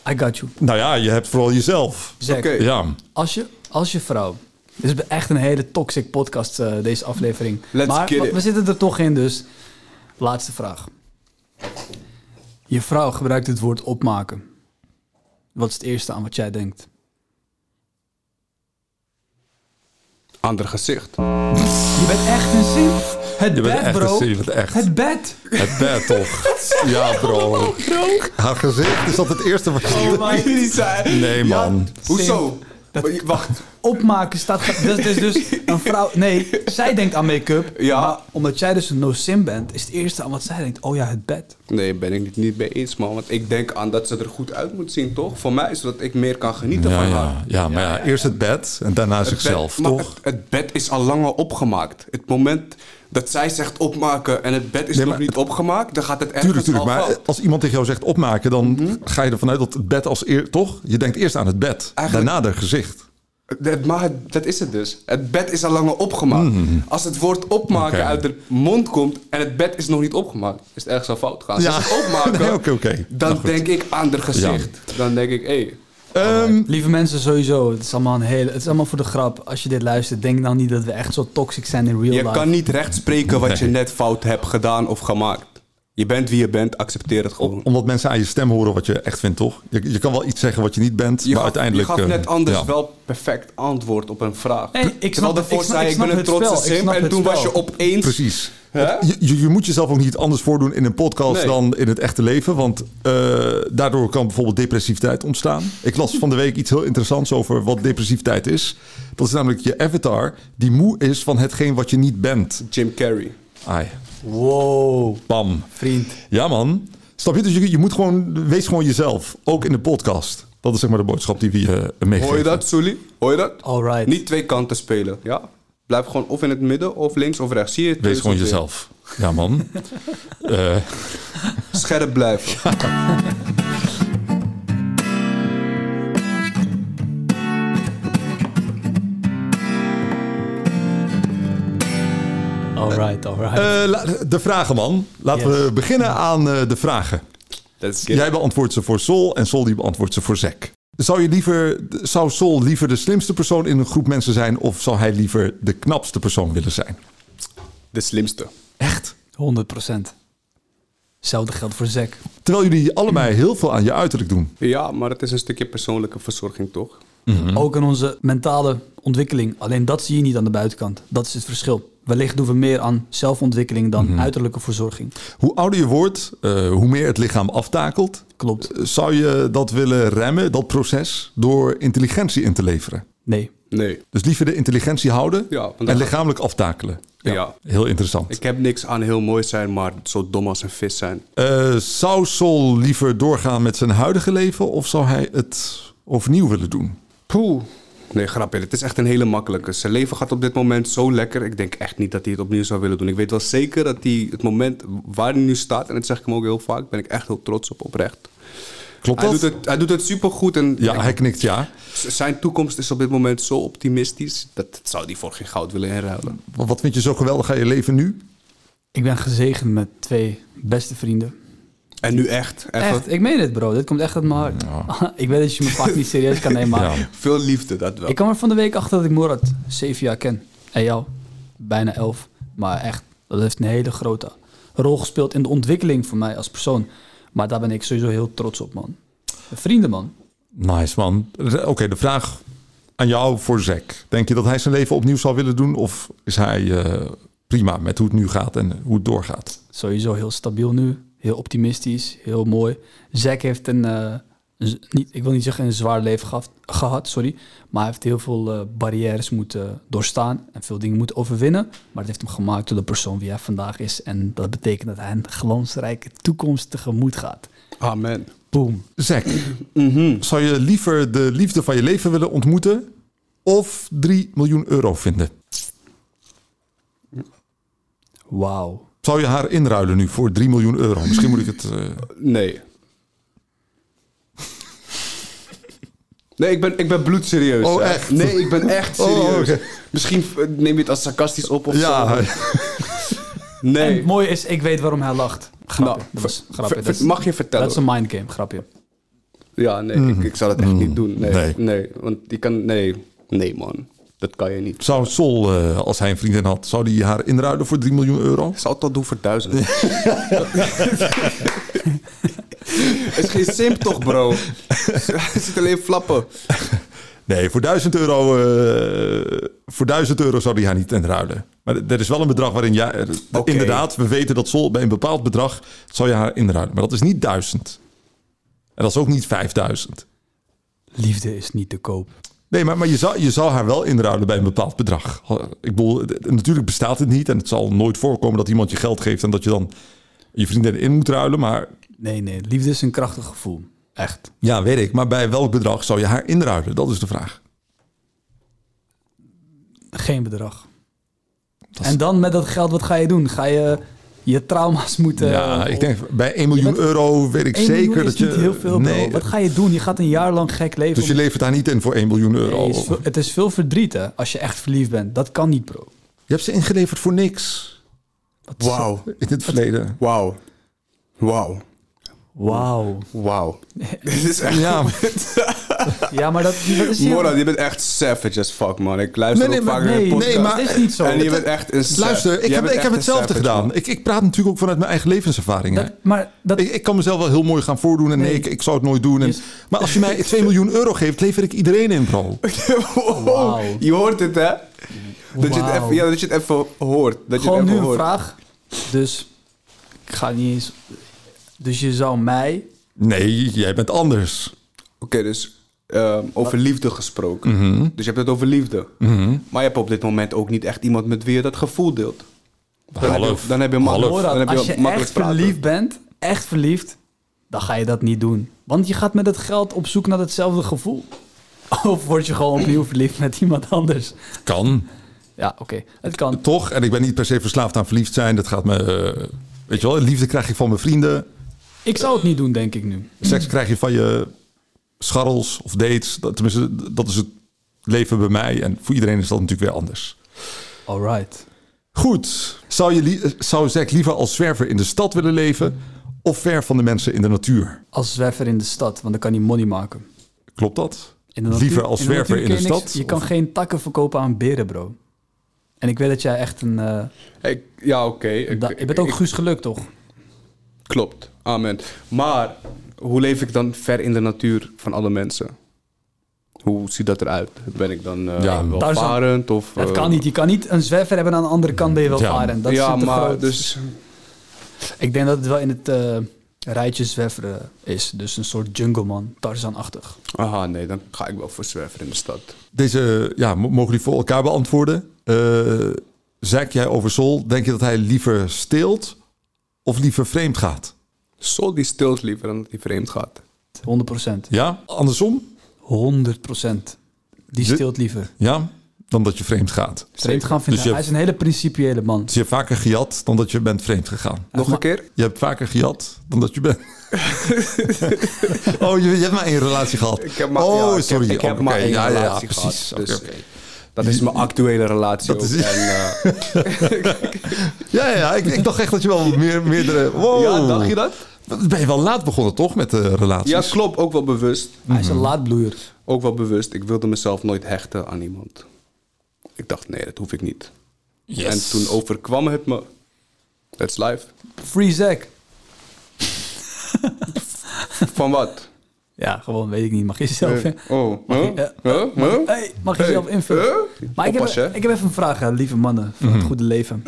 [SPEAKER 1] I got you.
[SPEAKER 2] Nou ja, je hebt vooral jezelf.
[SPEAKER 1] Zeg,
[SPEAKER 3] Oké.
[SPEAKER 2] Ja.
[SPEAKER 1] als, je, als je vrouw... Dit is echt een hele toxic podcast, eh, deze aflevering.
[SPEAKER 3] Let's
[SPEAKER 1] maar
[SPEAKER 3] get
[SPEAKER 1] we,
[SPEAKER 3] it.
[SPEAKER 1] we zitten er toch in, dus... Laatste vraag. Je vrouw gebruikt het woord opmaken. Wat is het eerste aan wat jij denkt?
[SPEAKER 3] Ander gezicht.
[SPEAKER 1] Je bent echt een zin. Het
[SPEAKER 2] Je bent
[SPEAKER 1] bed,
[SPEAKER 2] echt
[SPEAKER 1] bro.
[SPEAKER 2] een simp, echt.
[SPEAKER 1] Het bed.
[SPEAKER 2] Het
[SPEAKER 3] (laughs)
[SPEAKER 2] bed toch. Ja bro.
[SPEAKER 3] Oh (laughs)
[SPEAKER 2] Haar gezicht is dat het eerste wat je...
[SPEAKER 3] Jullie zijn...
[SPEAKER 2] Nee man.
[SPEAKER 3] Hoezo? Maar je- Wacht,
[SPEAKER 1] Opmaken staat... Dat is dus een vrouw... Nee, zij denkt aan make-up.
[SPEAKER 3] (laughs) Ja.
[SPEAKER 1] Maar omdat jij dus een no-sim bent, is het eerste aan wat zij denkt... Oh ja, het bed.
[SPEAKER 3] Nee, ben ik het niet mee eens, man. Want ik denk aan dat ze er goed uit moet zien, toch? Voor mij, zodat ik meer kan genieten
[SPEAKER 2] Ja,
[SPEAKER 3] van
[SPEAKER 2] ja,
[SPEAKER 3] haar.
[SPEAKER 2] ja, maar ja, eerst het bed en daarna zichzelf,
[SPEAKER 3] bed, maar
[SPEAKER 2] toch?
[SPEAKER 3] Het, het bed is al lang al opgemaakt. Het moment dat zij zegt opmaken en het bed is
[SPEAKER 2] Nee,
[SPEAKER 3] nog
[SPEAKER 2] maar
[SPEAKER 3] niet
[SPEAKER 2] het-
[SPEAKER 3] opgemaakt, dan gaat het ergens
[SPEAKER 2] Tuurlijk, tuurlijk.
[SPEAKER 3] al Mhm.
[SPEAKER 2] Maar
[SPEAKER 3] fout.
[SPEAKER 2] als iemand tegen jou zegt opmaken, dan ga je ervan uit dat het bed als eer... Toch? Je denkt eerst aan het bed,
[SPEAKER 3] Eigenlijk-
[SPEAKER 2] daarna haar gezicht.
[SPEAKER 3] Dat- maar het- dat is het dus. Het bed is al lang al opgemaakt. Als het woord opmaken
[SPEAKER 2] Hmm. Oké.
[SPEAKER 3] uit de mond komt en het bed is nog niet opgemaakt, is het ergens al fout gaan.
[SPEAKER 2] Ja.
[SPEAKER 3] Als het
[SPEAKER 2] (laughs)
[SPEAKER 3] opmaken,
[SPEAKER 2] Nee, oké, oké.
[SPEAKER 3] dan
[SPEAKER 2] Nou, goed.
[SPEAKER 3] denk ik aan haar gezicht. Dan denk ik, hé, hey,
[SPEAKER 2] Ehm,
[SPEAKER 1] Lieve mensen, sowieso. Het is allemaal, een hele, het is allemaal voor de grap. Als je dit luistert, denk nou niet dat we echt zo toxic zijn in real
[SPEAKER 3] Je
[SPEAKER 1] life.
[SPEAKER 3] kan niet recht spreken wat je
[SPEAKER 2] Nee.
[SPEAKER 3] net fout hebt gedaan of gemaakt. Je bent wie je bent, accepteer het gewoon.
[SPEAKER 2] omdat mensen aan je stem horen wat je echt vindt, toch? Je, je kan wel iets zeggen wat je niet bent,
[SPEAKER 3] Je
[SPEAKER 2] maar
[SPEAKER 3] gaf,
[SPEAKER 2] uiteindelijk...
[SPEAKER 3] je gaf
[SPEAKER 2] eh,
[SPEAKER 3] net anders
[SPEAKER 2] ja.
[SPEAKER 3] wel perfect antwoord op een vraag.
[SPEAKER 1] Nee, ik
[SPEAKER 3] Terwijl
[SPEAKER 1] snap-
[SPEAKER 3] daarvoor
[SPEAKER 1] ik snap-
[SPEAKER 3] zei
[SPEAKER 1] ik
[SPEAKER 3] ik ben
[SPEAKER 1] snap
[SPEAKER 3] een
[SPEAKER 1] het
[SPEAKER 3] trotse
[SPEAKER 1] spel, ik
[SPEAKER 3] simp
[SPEAKER 1] snap
[SPEAKER 3] en
[SPEAKER 1] het
[SPEAKER 3] toen was je
[SPEAKER 1] spel.
[SPEAKER 3] opeens...
[SPEAKER 2] Precies.
[SPEAKER 3] Hè?
[SPEAKER 2] Want Je, je, je moet jezelf ook niet anders voordoen in een podcast
[SPEAKER 3] Nee.
[SPEAKER 2] dan in het echte leven. Want eh, daardoor kan bijvoorbeeld depressiviteit ontstaan. Ik las van de week iets heel interessants over wat depressiviteit is. Dat is namelijk je avatar die moe is van hetgeen wat je niet bent.
[SPEAKER 3] Jim Carrey.
[SPEAKER 2] Ai,
[SPEAKER 1] Wow,
[SPEAKER 2] bam.
[SPEAKER 1] vriend.
[SPEAKER 2] Ja man. Snap je? Dus je, je moet gewoon, wees gewoon jezelf. Ook in de podcast. Dat is zeg maar de boodschap die we je meegeven.
[SPEAKER 3] Hoor je dat, Sully? Hoor je dat?
[SPEAKER 1] Alright.
[SPEAKER 3] Niet twee kanten spelen. Ja? Blijf gewoon of in het midden of links of eh, rechts. Zie je het?
[SPEAKER 2] Wees gewoon
[SPEAKER 3] Presenteer.
[SPEAKER 2] jezelf. Ja (laughs) man. Eh,
[SPEAKER 3] Scherp
[SPEAKER 2] (laughs)
[SPEAKER 3] blijven.
[SPEAKER 1] Alright, alright.
[SPEAKER 2] eh, la- de vragen man. Laten
[SPEAKER 1] Yes.
[SPEAKER 2] we beginnen aan eh, de vragen.
[SPEAKER 3] Let's get
[SPEAKER 2] Jij beantwoordt ze voor Sol en Sol die beantwoordt ze voor Zack. Zou, je liever, zou Sol liever de slimste persoon in een groep mensen zijn... of zou hij liever de knapste persoon willen zijn?
[SPEAKER 3] de slimste.
[SPEAKER 2] Echt?
[SPEAKER 1] 100%. Hetzelfde geldt voor Zack.
[SPEAKER 2] Terwijl jullie allebei heel veel aan je uiterlijk doen.
[SPEAKER 3] Ja, maar het is een stukje persoonlijke verzorging, toch?
[SPEAKER 1] Ook in onze mentale ontwikkeling. Alleen dat zie je niet aan de buitenkant. Dat is het verschil. Wellicht doen we meer aan zelfontwikkeling dan uiterlijke verzorging.
[SPEAKER 2] Hoe ouder je wordt, eh, hoe meer het lichaam aftakelt. eh,
[SPEAKER 1] Klopt.
[SPEAKER 2] Zou je dat willen remmen, dat proces, door intelligentie in te leveren?
[SPEAKER 1] Nee.
[SPEAKER 3] Nee.
[SPEAKER 2] Dus liever de intelligentie houden
[SPEAKER 3] Ja, want dan
[SPEAKER 2] en
[SPEAKER 3] gaat-
[SPEAKER 2] lichamelijk aftakelen.
[SPEAKER 3] Ja.
[SPEAKER 2] Heel interessant.
[SPEAKER 3] Ik heb niks aan heel mooi zijn, maar zo dom als een vis zijn.
[SPEAKER 2] Eh, zou Sol liever doorgaan met zijn huidige leven of zou hij het overnieuw willen doen?
[SPEAKER 3] Poeh. Nee, grapje. Het is echt een hele makkelijke. Zijn leven gaat op dit moment zo lekker. Ik denk echt niet dat hij het opnieuw zou willen doen. Ik weet wel zeker dat hij het moment waar hij nu staat, en dat zeg ik hem ook heel vaak, ben ik echt heel trots op oprecht.
[SPEAKER 2] Klopt
[SPEAKER 3] Hij
[SPEAKER 2] dat?
[SPEAKER 3] doet, het, hij doet het supergoed en
[SPEAKER 2] Ja,
[SPEAKER 3] ik-
[SPEAKER 2] hij knikt ja.
[SPEAKER 3] z- zijn toekomst is op dit moment zo optimistisch. Dat, dat zou hij voor geen goud willen herruilen.
[SPEAKER 2] Wat wat vind je zo geweldig aan je leven nu?
[SPEAKER 1] Ik ben gezegend met twee beste vrienden.
[SPEAKER 3] En nu echt. Even
[SPEAKER 1] Echt, ik meen het bro. Dit komt echt uit mijn hart. (laughs) ik weet dat je me vaak niet serieus kan nemen, maar...
[SPEAKER 2] Ja.
[SPEAKER 3] Veel liefde, dat wel.
[SPEAKER 1] Ik kwam er van de week achter dat ik Morat zeven jaar ken. En jou, bijna elf. Maar echt, dat heeft een hele grote rol gespeeld in de ontwikkeling van mij als persoon. Maar daar ben ik sowieso heel trots op, man. Vrienden, man.
[SPEAKER 2] Nice man. Oké, de vraag aan jou voor Zack. Denk je dat hij zijn leven opnieuw zou willen doen of is hij eh, prima met hoe het nu gaat en hoe het doorgaat?
[SPEAKER 1] Sowieso heel stabiel nu. Heel optimistisch, heel mooi. Zack heeft een, eh, een z- niet, ik wil niet zeggen een zwaar leven gehad, gehad sorry. Maar hij heeft heel veel eh, barrières moeten doorstaan. En veel dingen moeten overwinnen. Maar het heeft hem gemaakt tot de persoon wie hij vandaag is. En dat betekent dat hij een glansrijke toekomst tegemoet gaat.
[SPEAKER 3] Amen.
[SPEAKER 1] Boom.
[SPEAKER 2] Zack, zou je liever de liefde van je leven willen ontmoeten of 3 miljoen euro vinden?
[SPEAKER 1] Wauw.
[SPEAKER 2] Zou je haar inruilen nu voor 3 miljoen euro? Misschien moet ik het... eh,
[SPEAKER 3] Nee. Nee, ik ben, ik ben bloedserieus.
[SPEAKER 2] Oh,
[SPEAKER 3] hè.
[SPEAKER 2] echt?
[SPEAKER 3] Nee, ik ben echt
[SPEAKER 2] Oh,
[SPEAKER 3] serieus.
[SPEAKER 2] oké.
[SPEAKER 3] Misschien eh, neem je het als sarcastisch op of
[SPEAKER 2] ja,
[SPEAKER 3] zo.
[SPEAKER 1] En het
[SPEAKER 3] Nee.
[SPEAKER 1] mooie is, ik weet waarom hij lacht. Grapje.
[SPEAKER 3] Nou,
[SPEAKER 1] dat was,
[SPEAKER 3] ver-
[SPEAKER 1] grapje.
[SPEAKER 3] ver-
[SPEAKER 1] Dat is-
[SPEAKER 3] mag je vertellen?
[SPEAKER 1] Dat is een mindgame, grapje.
[SPEAKER 3] Ja, nee, ik, ik zou dat echt niet doen. Nee,
[SPEAKER 2] Mm. Nee.
[SPEAKER 3] nee. want die kan... Nee, nee man. Dat kan je
[SPEAKER 2] (laughs)
[SPEAKER 3] niet.
[SPEAKER 2] zou Sol, eh, als hij een vriendin had, zou die haar inruilen voor 3 miljoen euro?
[SPEAKER 3] Ik zou het al doen voor (laughs) duizend. Het is geen simp toch, bro? Hij zit alleen flappen.
[SPEAKER 2] Nee, voor 1000 euro, eh, voor 1000 euro zou die haar niet inruilen. Maar d- er is wel een bedrag waarin jij... eh,
[SPEAKER 3] Oké.
[SPEAKER 2] Inderdaad, we weten dat Sol bij een bepaald bedrag zou je haar inruilen. Maar dat is niet 1000. En dat is ook niet 5000.
[SPEAKER 1] Liefde is niet te koop.
[SPEAKER 2] Nee, maar, maar je, zou, je zou haar wel inruilen bij een bepaald bedrag. Ik bedoel, d- d- natuurlijk bestaat het niet. En het zal nooit voorkomen dat iemand je geld geeft en dat je dan je vriendin in moet ruilen. Maar
[SPEAKER 1] Nee, nee. Liefde is een krachtig gevoel. Echt.
[SPEAKER 2] ja, weet ik. Maar bij welk bedrag zou je haar inruilen? Dat is de vraag.
[SPEAKER 1] Geen bedrag.
[SPEAKER 2] is-
[SPEAKER 1] En dan met dat geld, wat ga je doen? Ga je je trauma's moeten...
[SPEAKER 2] ja, ik denk bij 1 miljoen
[SPEAKER 1] bent-
[SPEAKER 2] euro weet ik
[SPEAKER 1] 1 miljoen
[SPEAKER 2] zeker
[SPEAKER 1] is
[SPEAKER 2] dat je.
[SPEAKER 1] niet heel veel, bro.
[SPEAKER 2] nee,
[SPEAKER 1] Wat ga je doen? Je gaat een jaar lang gek leven.
[SPEAKER 2] dus je
[SPEAKER 1] om-
[SPEAKER 2] levert daar niet in voor 1 miljoen euro.
[SPEAKER 1] Nee, het is veel- het is veel verdriet, hè, als je echt verliefd bent. Dat kan niet, bro.
[SPEAKER 2] Je hebt ze ingeleverd voor niks
[SPEAKER 1] Wat is-
[SPEAKER 3] Wauw.
[SPEAKER 2] in het verleden.
[SPEAKER 3] Wauw. Wauw.
[SPEAKER 1] Wauw.
[SPEAKER 3] Wauw. Dit is echt...
[SPEAKER 2] Ja,
[SPEAKER 1] Ja, maar dat, dat is heel-
[SPEAKER 3] Moran, je bent echt savage as fuck, man. Ik
[SPEAKER 2] (laughs)
[SPEAKER 3] luister
[SPEAKER 2] Nee,
[SPEAKER 3] ook
[SPEAKER 2] nee,
[SPEAKER 3] vaak
[SPEAKER 2] maar-
[SPEAKER 3] naar
[SPEAKER 1] nee,
[SPEAKER 3] je podcast.
[SPEAKER 2] nee,
[SPEAKER 3] (laughs)
[SPEAKER 2] maar-
[SPEAKER 1] dat is niet zo.
[SPEAKER 3] En je
[SPEAKER 1] Dat-
[SPEAKER 3] bent echt een savage.
[SPEAKER 2] luister, ik
[SPEAKER 3] Jij
[SPEAKER 2] heb, ik
[SPEAKER 3] bent
[SPEAKER 2] heb
[SPEAKER 3] echt een
[SPEAKER 2] hetzelfde
[SPEAKER 3] savage,
[SPEAKER 2] gedaan.
[SPEAKER 3] man.
[SPEAKER 2] Ik, ik praat natuurlijk ook vanuit mijn eigen levenservaringen.
[SPEAKER 1] dat- maar dat,
[SPEAKER 2] Ik, ik kan mezelf wel heel mooi gaan voordoen en nee,
[SPEAKER 1] Nee.
[SPEAKER 2] ik, ik zou het nooit doen. En,
[SPEAKER 1] Yes.
[SPEAKER 2] Maar als je mij 2 miljoen euro geeft, lever ik iedereen in, bro.
[SPEAKER 3] Wow.
[SPEAKER 1] Wauw.
[SPEAKER 3] Je hoort het, hè? Dat, je het
[SPEAKER 1] Wauw.
[SPEAKER 3] even, ja, dat je het even hoort. Dat je
[SPEAKER 1] gewoon
[SPEAKER 3] het
[SPEAKER 1] nu
[SPEAKER 3] even
[SPEAKER 1] een
[SPEAKER 3] hoort.
[SPEAKER 1] vraag. Dus ik ga niet eens... Dus je zou mij...
[SPEAKER 2] Nee, jij bent anders.
[SPEAKER 3] Oké, dus ehm, over liefde gesproken. Dus je hebt het over liefde. Maar je hebt op dit moment ook niet echt iemand met wie je dat gevoel deelt. Dan heb
[SPEAKER 2] Half.
[SPEAKER 3] je, dan heb je makkelijk,
[SPEAKER 2] Half.
[SPEAKER 3] dan heb
[SPEAKER 1] Morat, als je
[SPEAKER 3] makkelijk
[SPEAKER 1] echt
[SPEAKER 3] praten.
[SPEAKER 1] verliefd bent, echt verliefd, dan ga je dat niet doen. Want je gaat met het geld op zoek naar hetzelfde gevoel. (laughs) Of word je gewoon opnieuw verliefd met iemand anders.
[SPEAKER 2] Kan.
[SPEAKER 1] Ja, oké. Het kan.
[SPEAKER 2] Toch? En ik ben niet per se verslaafd aan verliefd zijn. Dat gaat me... eh, weet je wel, liefde krijg je van mijn vrienden.
[SPEAKER 1] Ik zou het niet doen, denk ik nu.
[SPEAKER 2] Seks krijg je van je scharrels of dates. Dat, tenminste, dat is het leven bij mij. En voor iedereen is dat natuurlijk weer anders.
[SPEAKER 1] Alright.
[SPEAKER 2] Goed. Zou, je li- eh, zou Zack liever als zwerver in de stad willen leven... of ver van de mensen in de natuur?
[SPEAKER 1] Als zwerver in de stad, want dan kan hij money maken.
[SPEAKER 2] Klopt dat?
[SPEAKER 1] In de natuur-
[SPEAKER 2] liever als
[SPEAKER 1] in de
[SPEAKER 2] zwerver in
[SPEAKER 1] natuur
[SPEAKER 2] de
[SPEAKER 1] kun je niks-
[SPEAKER 2] stad?
[SPEAKER 1] Je kan
[SPEAKER 2] Of-
[SPEAKER 1] geen takken verkopen aan beren, bro. En ik weet dat jij echt een... eh
[SPEAKER 3] Ik, ja, oké. ik-
[SPEAKER 1] da- je bent ook
[SPEAKER 3] ik- Eh,
[SPEAKER 1] Guus Geluk, toch?
[SPEAKER 3] Klopt, amen. Maar hoe leef ik dan ver in de natuur van alle mensen? Hoe ziet dat eruit? Ben ik dan eh
[SPEAKER 2] Ja,
[SPEAKER 3] welvarend? Of,
[SPEAKER 1] Dat
[SPEAKER 3] eh,
[SPEAKER 1] kan niet. Je kan niet een zwerver hebben en aan de andere kant ben je wel
[SPEAKER 2] Ja.
[SPEAKER 1] varen. Dat is
[SPEAKER 3] ja,
[SPEAKER 1] te
[SPEAKER 3] maar
[SPEAKER 1] groot.
[SPEAKER 3] dus...
[SPEAKER 1] Ik denk dat het wel in het eh, rijtje zwerveren is. Dus een soort jungleman, Tarzan-achtig.
[SPEAKER 3] Aha, nee, dan ga ik wel voor zwerver in de stad.
[SPEAKER 2] Deze ja, mo- mogen die voor elkaar beantwoorden. Eh Zack, jij over Sol. Denk je dat hij liever steelt of liever vreemd gaat?
[SPEAKER 3] Sol die stilt liever dan dat hij vreemd gaat.
[SPEAKER 1] 100%.
[SPEAKER 2] Ja? Andersom?
[SPEAKER 1] 100%. Die
[SPEAKER 2] De-
[SPEAKER 1] steelt liever.
[SPEAKER 2] Ja? Dan dat je vreemd gaat.
[SPEAKER 1] Vreemd gaan vinden.
[SPEAKER 2] Dus je-
[SPEAKER 1] Hij is een hele principiële man.
[SPEAKER 2] Dus je
[SPEAKER 3] Mhm.
[SPEAKER 2] hebt vaker gejat dan dat je bent vreemd gegaan.
[SPEAKER 3] Nog een keer?
[SPEAKER 2] Je hebt vaker gejat dan dat je
[SPEAKER 3] (laughs)
[SPEAKER 2] bent... oh, je, je hebt maar één relatie gehad.
[SPEAKER 3] Ik heb maar,
[SPEAKER 2] oh,
[SPEAKER 3] ja, ik heb-
[SPEAKER 2] sorry.
[SPEAKER 3] Ik heb
[SPEAKER 2] Oké,
[SPEAKER 3] maar één
[SPEAKER 2] ja, ja, ja,
[SPEAKER 3] relatie
[SPEAKER 2] precies.
[SPEAKER 3] gehad. Dus,
[SPEAKER 2] Oké, oké.
[SPEAKER 3] Dat is mijn actuele relatie
[SPEAKER 2] Dat
[SPEAKER 3] ook.
[SPEAKER 2] is-
[SPEAKER 3] En,
[SPEAKER 2] (laughs)
[SPEAKER 3] eh,
[SPEAKER 2] Ja, ja, ja, ik, ik dacht echt dat je wel meer, meerdere... Wow.
[SPEAKER 3] Ja, dacht je dat?
[SPEAKER 2] Ben je wel laat begonnen, toch, met de relaties?
[SPEAKER 3] Ja, klopt. Ook wel bewust.
[SPEAKER 1] Hij is een laadbloeier.
[SPEAKER 3] Ook wel bewust. Ik wilde mezelf nooit hechten aan iemand. Ik dacht, nee, dat hoef ik niet.
[SPEAKER 2] Yes.
[SPEAKER 3] En toen overkwam het me. That's
[SPEAKER 1] (laughs)
[SPEAKER 3] life.
[SPEAKER 1] Free Zack.
[SPEAKER 3] Van wat?
[SPEAKER 1] Ja, gewoon, weet ik niet. Mag je zelf...
[SPEAKER 3] Eh, oh, huh?
[SPEAKER 1] Ja.
[SPEAKER 3] Huh? Huh?
[SPEAKER 1] Hey, mag je
[SPEAKER 3] Hey,
[SPEAKER 1] zelf invullen?
[SPEAKER 3] huh?
[SPEAKER 1] Maar ik heb,
[SPEAKER 3] Oppas, hè? Mhm.
[SPEAKER 1] ik heb even een vraag, hè, lieve mannen. Van het goede leven.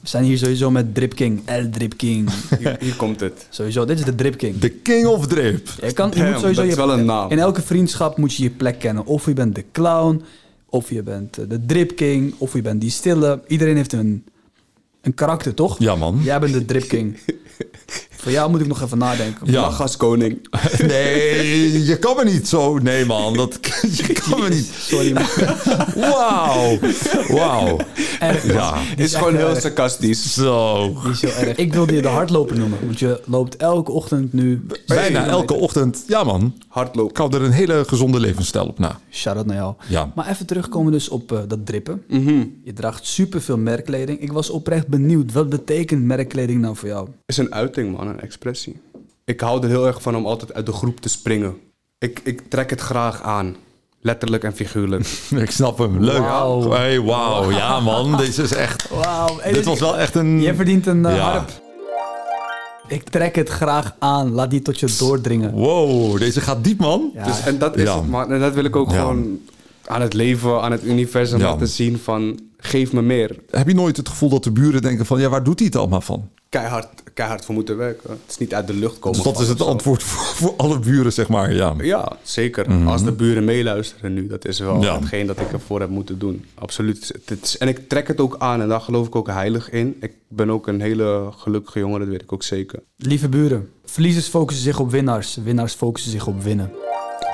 [SPEAKER 1] We zijn hier sowieso met Drip King. El Drip
[SPEAKER 3] (laughs)
[SPEAKER 1] King.
[SPEAKER 3] Hier, hier komt het.
[SPEAKER 1] sowieso, dit is de Drip King.
[SPEAKER 2] De King of Drip.
[SPEAKER 1] Je, kan, je
[SPEAKER 3] Damn,
[SPEAKER 1] moet sowieso
[SPEAKER 3] dat is
[SPEAKER 1] je-
[SPEAKER 3] wel een naam.
[SPEAKER 1] In elke vriendschap moet je je plek kennen. Of je bent de clown, of je bent eh, de dripking, of je bent die stille. Iedereen heeft een, een karakter, toch?
[SPEAKER 2] Ja, man.
[SPEAKER 1] Jij bent de
[SPEAKER 3] (laughs)
[SPEAKER 1] dripking. Voor jou moet ik nog even nadenken.
[SPEAKER 2] Ja.
[SPEAKER 3] Lach als
[SPEAKER 1] (laughs)
[SPEAKER 3] koning.
[SPEAKER 2] (laughs) Nee, je kan me niet zo. Nee, man. Dat, (laughs) je kan me niet.
[SPEAKER 1] Sorry, man.
[SPEAKER 3] (laughs)
[SPEAKER 2] Wauw. Wauw.
[SPEAKER 1] Erg, man.
[SPEAKER 2] Ja.
[SPEAKER 1] Die
[SPEAKER 3] Is
[SPEAKER 1] echt eh,
[SPEAKER 3] gewoon heel
[SPEAKER 1] erg.
[SPEAKER 3] sarcastisch.
[SPEAKER 2] Zo.
[SPEAKER 1] Die is heel erg. Ik wilde je de hardloper noemen, want je loopt elke ochtend nu...
[SPEAKER 2] Bijna elke ochtend. Ja, man. Ik
[SPEAKER 3] Hardlopen.
[SPEAKER 2] hou er een hele gezonde levensstijl op na. (laughs)
[SPEAKER 1] Shout-out naar jou.
[SPEAKER 2] Ja.
[SPEAKER 1] Maar even terugkomen dus op eh, dat drippen.
[SPEAKER 3] Mhm.
[SPEAKER 1] Je draagt superveel merkkleding. Ik was oprecht benieuwd, wat betekent merkkleding nou voor jou?
[SPEAKER 3] is een uiting, man, een expressie. Ik hou er heel erg van om altijd uit de groep te springen. Ik, ik trek het graag aan. Letterlijk en figuurlijk.
[SPEAKER 2] Ik snap hem. Leuk.
[SPEAKER 1] Wauw.
[SPEAKER 2] Hey, wauw. Ja,
[SPEAKER 1] (laughs)
[SPEAKER 2] man. Deze is echt...
[SPEAKER 1] Wauw. hey,
[SPEAKER 2] Dit was wel echt een...
[SPEAKER 1] Je verdient een eh,
[SPEAKER 2] Mm. Ja.
[SPEAKER 1] harp. Ik trek het graag aan. Laat die tot je doordringen.
[SPEAKER 2] Wow. Deze gaat diep, man.
[SPEAKER 1] Ja.
[SPEAKER 3] Dus, en dat is
[SPEAKER 2] Ja.
[SPEAKER 3] het, man. En dat wil ik ook
[SPEAKER 2] Ja.
[SPEAKER 3] gewoon aan het leven, aan het universum
[SPEAKER 2] Ja.
[SPEAKER 3] laten zien van... Geef me meer.
[SPEAKER 2] Heb je nooit het gevoel dat de buren denken van... Ja, waar doet hij het allemaal van?
[SPEAKER 1] Oh,
[SPEAKER 3] keihard, keihard voor moeten werken. Het is niet uit de lucht komen.
[SPEAKER 2] Dus dat
[SPEAKER 3] vallen
[SPEAKER 2] is het
[SPEAKER 3] of zo.
[SPEAKER 2] antwoord voor, voor alle buren, zeg maar. Ja.
[SPEAKER 3] Ja, zeker. Als de buren meeluisteren nu, dat is wel
[SPEAKER 2] Ja.
[SPEAKER 3] hetgeen dat ik ervoor heb moeten doen. Absoluut. Het is, en ik trek het ook aan en daar geloof ik ook heilig in. Ik ben ook een hele gelukkige jongen, dat weet ik ook zeker.
[SPEAKER 1] Lieve buren, verliezers focussen zich op winnaars. Winnaars focussen zich op winnen.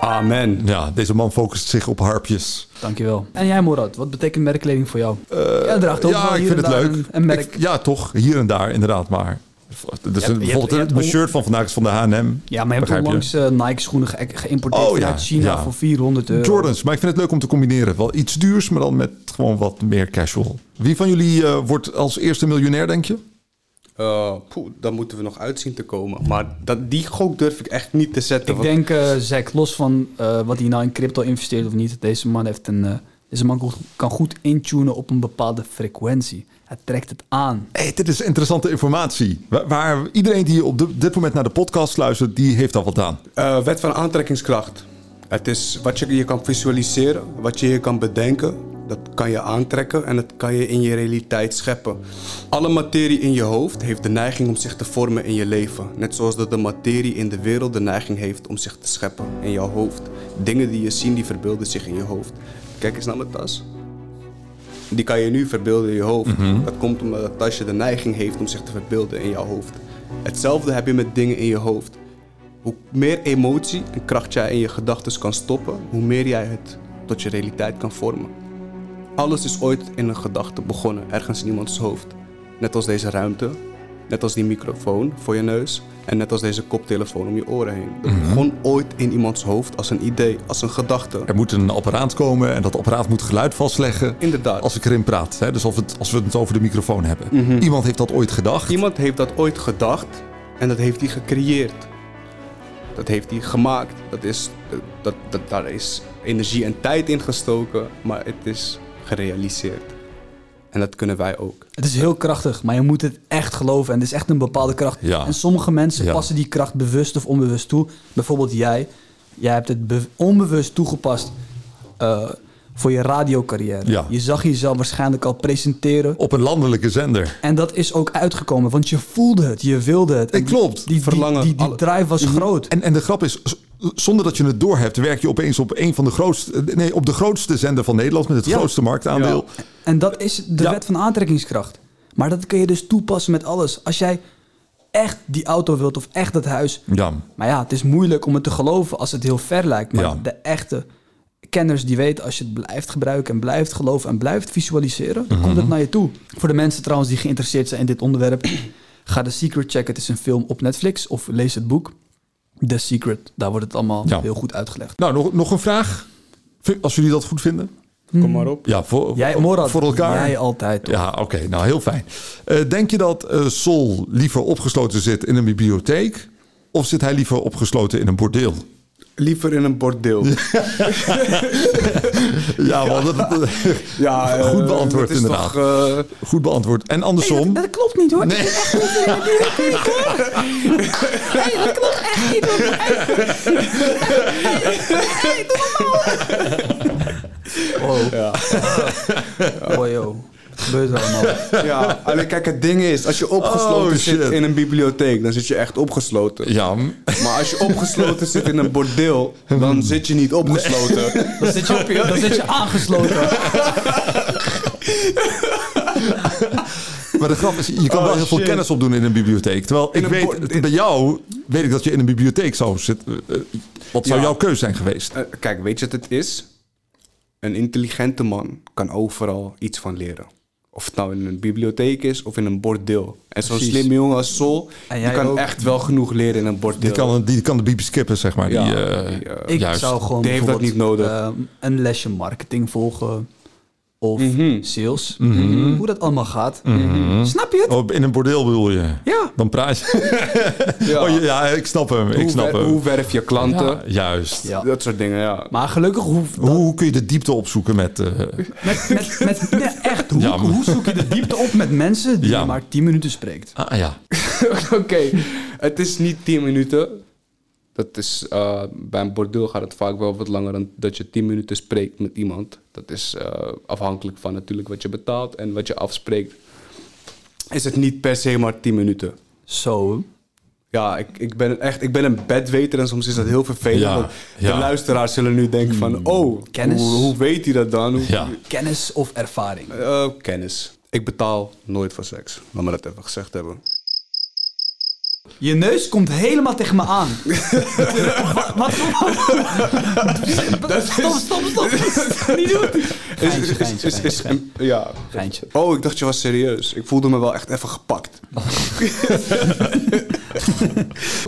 [SPEAKER 3] Amen.
[SPEAKER 2] ja, deze man focust zich op harpjes.
[SPEAKER 1] Dankjewel. En jij Morad, wat betekent merkkleding voor jou? ja, draagt ook wel
[SPEAKER 2] Eh, ja, ik
[SPEAKER 1] hier
[SPEAKER 2] vind
[SPEAKER 1] en
[SPEAKER 2] het
[SPEAKER 1] daar
[SPEAKER 2] leuk.
[SPEAKER 1] Een, een merk.
[SPEAKER 2] Ik- ja, toch. Hier en daar, inderdaad. Maar dus
[SPEAKER 1] je hebt-
[SPEAKER 2] bijvoorbeeld
[SPEAKER 1] je hebt
[SPEAKER 2] mijn
[SPEAKER 1] on-
[SPEAKER 2] shirt van vandaag is van de H&M.
[SPEAKER 1] ja, maar je hebt
[SPEAKER 2] Begrijp
[SPEAKER 1] onlangs eh, Nike-schoenen ge- geïmporteerd
[SPEAKER 2] Oh, ja,
[SPEAKER 1] uit China
[SPEAKER 2] ja.
[SPEAKER 1] voor 400 euro.
[SPEAKER 2] Jordans, maar ik vind het leuk om te combineren. Wel iets duurs, maar dan met gewoon wat meer casual. Wie van jullie eh, wordt als eerste miljonair, denk je?
[SPEAKER 3] Eh poeh, dan moeten we nog uitzien te komen. Maar dat, die gok durf ik echt niet te zetten.
[SPEAKER 1] Ik
[SPEAKER 3] want-
[SPEAKER 1] denk, eh Zack, los van eh, wat hij nou in crypto investeert of niet, deze man, heeft een, eh, deze man goed- kan goed intunen op een bepaalde frequentie. Hij trekt het aan.
[SPEAKER 2] Hey, dit is interessante informatie. Wa- Waar, iedereen die op de- dit moment naar de podcast luistert, die heeft al wat aan.
[SPEAKER 3] Eh, wet van aantrekkingskracht. Het is wat je je kan visualiseren, wat je je kan bedenken. Dat kan je aantrekken en dat kan je in je realiteit scheppen. Alle materie in je hoofd heeft de neiging om zich te vormen in je leven. Net zoals dat de materie in de wereld de neiging heeft om zich te scheppen in jouw hoofd. Dingen die je ziet, die verbeelden zich in je hoofd. Kijk eens naar mijn tas. Die kan je nu verbeelden in je hoofd. Dat komt omdat het tasje de neiging heeft om zich te verbeelden in jouw hoofd. Hetzelfde heb je met dingen in je hoofd. Hoe meer emotie en kracht jij in je gedachten kan stoppen, hoe meer jij het tot je realiteit kan vormen. Alles is ooit in een gedachte begonnen, ergens in iemands hoofd. Net als deze ruimte, net als die microfoon voor je neus en net als deze koptelefoon om je oren heen. Het begon ooit in iemands hoofd als een idee, als een gedachte.
[SPEAKER 2] Er moet een apparaat komen en dat apparaat moet geluid vastleggen.
[SPEAKER 3] Inderdaad.
[SPEAKER 2] Als ik erin praat. Hè? Dus of het, als we het over de microfoon hebben. Iemand heeft dat ooit gedacht.
[SPEAKER 3] Iemand heeft dat ooit gedacht en dat heeft hij gecreëerd. Dat heeft hij gemaakt. Dat is, dat, dat, daar is energie en tijd in gestoken, maar het is gerealiseerd. En dat kunnen wij ook.
[SPEAKER 1] Het is heel krachtig, maar je moet het echt geloven. En het is echt een bepaalde kracht.
[SPEAKER 2] Ja.
[SPEAKER 1] En sommige mensen
[SPEAKER 2] Ja.
[SPEAKER 1] passen die kracht bewust of onbewust toe. Bijvoorbeeld jij. Jij hebt het be- onbewust toegepast eh, voor je radiocarrière.
[SPEAKER 2] Ja.
[SPEAKER 1] Je zag jezelf waarschijnlijk al presenteren.
[SPEAKER 2] Op een landelijke zender.
[SPEAKER 1] En dat is ook uitgekomen, want je voelde het, je wilde het. En
[SPEAKER 2] Eh, klopt. Mhm.
[SPEAKER 1] Die, die, die,
[SPEAKER 3] Verlangen,
[SPEAKER 1] die,
[SPEAKER 3] alle-
[SPEAKER 1] drive was groot.
[SPEAKER 2] En, en de grap is, z- zonder dat je het doorhebt, werk je opeens op een van de grootste. Nee, op de grootste zender van Nederland met het
[SPEAKER 1] Ja.
[SPEAKER 2] grootste marktaandeel.
[SPEAKER 1] En dat is de
[SPEAKER 2] Ja.
[SPEAKER 1] wet van aantrekkingskracht. Maar dat kun je dus toepassen met alles. Als jij echt die auto wilt of echt dat huis.
[SPEAKER 2] Ja.
[SPEAKER 1] Maar ja, het is moeilijk om het te geloven als het heel ver lijkt. Maar
[SPEAKER 2] Ja.
[SPEAKER 1] de echte kenners die weten als je het blijft gebruiken en blijft geloven en blijft visualiseren, dan
[SPEAKER 2] Mhm.
[SPEAKER 1] komt het naar je toe. Voor de mensen trouwens die geïnteresseerd zijn in dit
[SPEAKER 2] (clears throat)
[SPEAKER 1] onderwerp, ga The Secret checken. Het is een film op Netflix of lees het boek. The Secret, daar wordt het allemaal
[SPEAKER 2] Ja.
[SPEAKER 1] heel goed uitgelegd.
[SPEAKER 2] Nou, nog, nog een vraag. Vind- Als jullie dat goed vinden.
[SPEAKER 3] Kom maar op.
[SPEAKER 2] Ja, voor,
[SPEAKER 1] Jij, Morad,
[SPEAKER 2] voor elkaar.
[SPEAKER 1] jij altijd.
[SPEAKER 2] Ja, oké. nou, heel fijn. Eh, denk je dat eh Sol liever opgesloten zit in een bibliotheek? Of zit hij liever opgesloten in een bordeel?
[SPEAKER 3] Liever in een (laughs) bordeel.
[SPEAKER 2] Ja, want dat, dat- (laughs)
[SPEAKER 3] Ja, eh,
[SPEAKER 2] goed beantwoord
[SPEAKER 3] dat is
[SPEAKER 2] inderdaad.
[SPEAKER 3] toch, eh,
[SPEAKER 2] goed beantwoord. En andersom.
[SPEAKER 1] Dat, dat klopt niet hoor.
[SPEAKER 2] Nee.
[SPEAKER 1] (laughs) Nee, dat klopt echt niet hoor. Wow. (laughs) Oh joh. Wat gebeurt er allemaal?
[SPEAKER 3] eh, (laughs) ja, alleen kijk, het ding is, als je opgesloten
[SPEAKER 2] Oh, shit.
[SPEAKER 3] zit in een bibliotheek, dan zit je echt opgesloten.
[SPEAKER 2] ja,
[SPEAKER 3] Maar als je opgesloten zit in een bordeel, dan zit je niet opgesloten. (laughs)
[SPEAKER 1] Dan zit je, dan zit je aangesloten.
[SPEAKER 2] maar de grap is, je kan
[SPEAKER 3] Oh,
[SPEAKER 2] wel heel veel
[SPEAKER 3] shit.
[SPEAKER 2] kennis opdoen in een bibliotheek. Terwijl ik
[SPEAKER 3] een
[SPEAKER 2] weet,
[SPEAKER 3] bord-
[SPEAKER 2] bij jou weet ik dat je in een bibliotheek zou zitten. Eh, eh, Wat zou
[SPEAKER 3] Ja.
[SPEAKER 2] jouw keuze zijn geweest?
[SPEAKER 3] Eh, kijk, weet je wat het is? Een intelligente man kan overal iets van leren. Of het nou in een bibliotheek is of in een bordeel. En zo'n
[SPEAKER 1] Precies.
[SPEAKER 3] slimme jongen als Sol,
[SPEAKER 1] En
[SPEAKER 3] die
[SPEAKER 1] jij
[SPEAKER 3] kan
[SPEAKER 1] ook.
[SPEAKER 3] echt wel genoeg leren in een bordeel.
[SPEAKER 2] Die kan, die kan de bieb skippen, zeg maar.
[SPEAKER 3] Ja,
[SPEAKER 2] die, eh,
[SPEAKER 3] die, eh,
[SPEAKER 1] Ik
[SPEAKER 2] juist.
[SPEAKER 1] zou gewoon
[SPEAKER 3] Die heeft dat
[SPEAKER 1] bijvoorbeeld,
[SPEAKER 3] niet
[SPEAKER 1] ehm, een lesje marketing volgen. Of sales. Hoe dat allemaal gaat. Snap je het?
[SPEAKER 2] Oh, in een bordeel bedoel je?
[SPEAKER 1] Ja.
[SPEAKER 2] Dan praat je.
[SPEAKER 3] Ja.
[SPEAKER 2] (laughs) Oh, ja, ja, ik snap hem. Ik
[SPEAKER 3] hoe,
[SPEAKER 2] snap
[SPEAKER 3] wer-
[SPEAKER 2] hem.
[SPEAKER 3] hoe werf je klanten?
[SPEAKER 2] Ja, juist.
[SPEAKER 1] Ja.
[SPEAKER 3] Dat soort dingen, ja.
[SPEAKER 1] Maar gelukkig hoeft
[SPEAKER 2] Hoe, hoe kun je de diepte opzoeken met... eh,
[SPEAKER 1] Met, met, met, nee, echt, hoe,
[SPEAKER 2] Ja, maar-
[SPEAKER 1] hoe zoek je de diepte op met mensen die
[SPEAKER 2] Ja.
[SPEAKER 1] je maar 10 minuten spreekt?
[SPEAKER 2] ah ja,
[SPEAKER 3] (laughs) Oké, het is niet 10 minuten. Dat is, eh, bij een bordeel gaat het vaak wel wat langer dan dat je 10 minuten spreekt met iemand. Dat is eh, afhankelijk van natuurlijk wat je betaalt en wat je afspreekt. is het niet per se maar 10 minuten.
[SPEAKER 1] Zo.
[SPEAKER 3] Ja, ik, ik ben echt ik ben een bedweter en soms is dat heel vervelend.
[SPEAKER 2] Ja,
[SPEAKER 3] want
[SPEAKER 2] ja. Hmm.
[SPEAKER 3] De luisteraars zullen nu denken van, oh,
[SPEAKER 1] Kennis.
[SPEAKER 3] Hoe, hoe weet hij dat dan? Hoe,
[SPEAKER 2] Ja.
[SPEAKER 1] Kennis of ervaring?
[SPEAKER 3] Eh, kennis. Ik betaal nooit voor seks. Laat me dat even gezegd hebben.
[SPEAKER 1] Je neus komt helemaal tegen me
[SPEAKER 2] (laughs)
[SPEAKER 1] aan. wat? wat-
[SPEAKER 3] Dat
[SPEAKER 1] stop,
[SPEAKER 3] is-
[SPEAKER 1] stop, stop. Niet doen. Geintje, geintje,
[SPEAKER 3] Is- is-
[SPEAKER 1] geintje, geintje.
[SPEAKER 3] Ja.
[SPEAKER 1] Geintje.
[SPEAKER 3] Oh, ik dacht je was serieus. Ik voelde me wel echt even gepakt.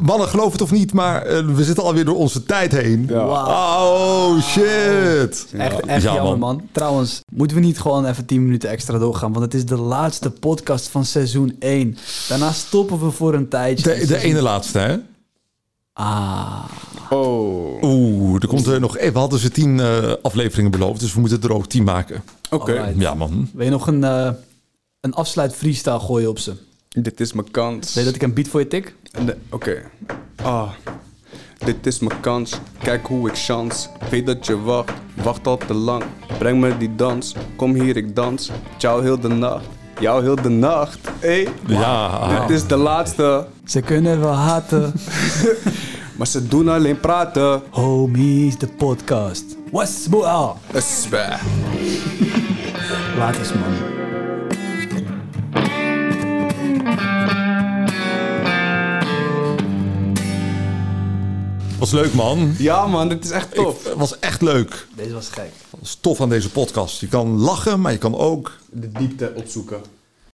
[SPEAKER 2] Mannen, geloof het of niet, maar eh, we zitten alweer door onze tijd heen.
[SPEAKER 3] Ja.
[SPEAKER 2] Oh, shit.
[SPEAKER 1] Echt, echt
[SPEAKER 2] Ja,
[SPEAKER 1] jammer,
[SPEAKER 2] man.
[SPEAKER 1] man. Trouwens, moeten we niet gewoon even 10 minuten extra doorgaan? Want het is de laatste podcast van seizoen 1. Daarna stoppen we voor een tijdje.
[SPEAKER 2] De, de ene laatste, hè?
[SPEAKER 1] Ah,
[SPEAKER 3] Oh. Oké.
[SPEAKER 2] Oeh, er komt er nog... eh, We hadden ze tien eh, afleveringen beloofd, dus we moeten er ook tien maken.
[SPEAKER 1] Alright.
[SPEAKER 2] Ja, man.
[SPEAKER 1] wil je nog een, eh, een afsluit freestyle gooien op ze? Wil
[SPEAKER 3] Dit is mijn kans.
[SPEAKER 1] je dat ik een beat voor je tik?
[SPEAKER 3] Nee, Oké. Ah. Dit is mijn kans. Kijk hoe ik chans. Weet dat je wacht. Wacht al te lang. Breng me die dans. Kom hier, ik dans. Ciao heel de nacht. Jou heel de nacht. Hey.
[SPEAKER 2] Ja.
[SPEAKER 3] Dit is de laatste.
[SPEAKER 1] Ze kunnen wel
[SPEAKER 2] (laughs)
[SPEAKER 1] haten.
[SPEAKER 3] Maar ze doen alleen praten.
[SPEAKER 1] Homies, de podcast. What's up?
[SPEAKER 3] Het is zwaar.
[SPEAKER 1] Laat eens, man.
[SPEAKER 2] Was leuk, man.
[SPEAKER 3] Ja man, dit is echt tof.
[SPEAKER 2] Ik- was echt leuk.
[SPEAKER 1] Deze was gek.
[SPEAKER 2] Dat is tof aan deze podcast. Je kan lachen, maar je kan ook
[SPEAKER 3] De diepte opzoeken.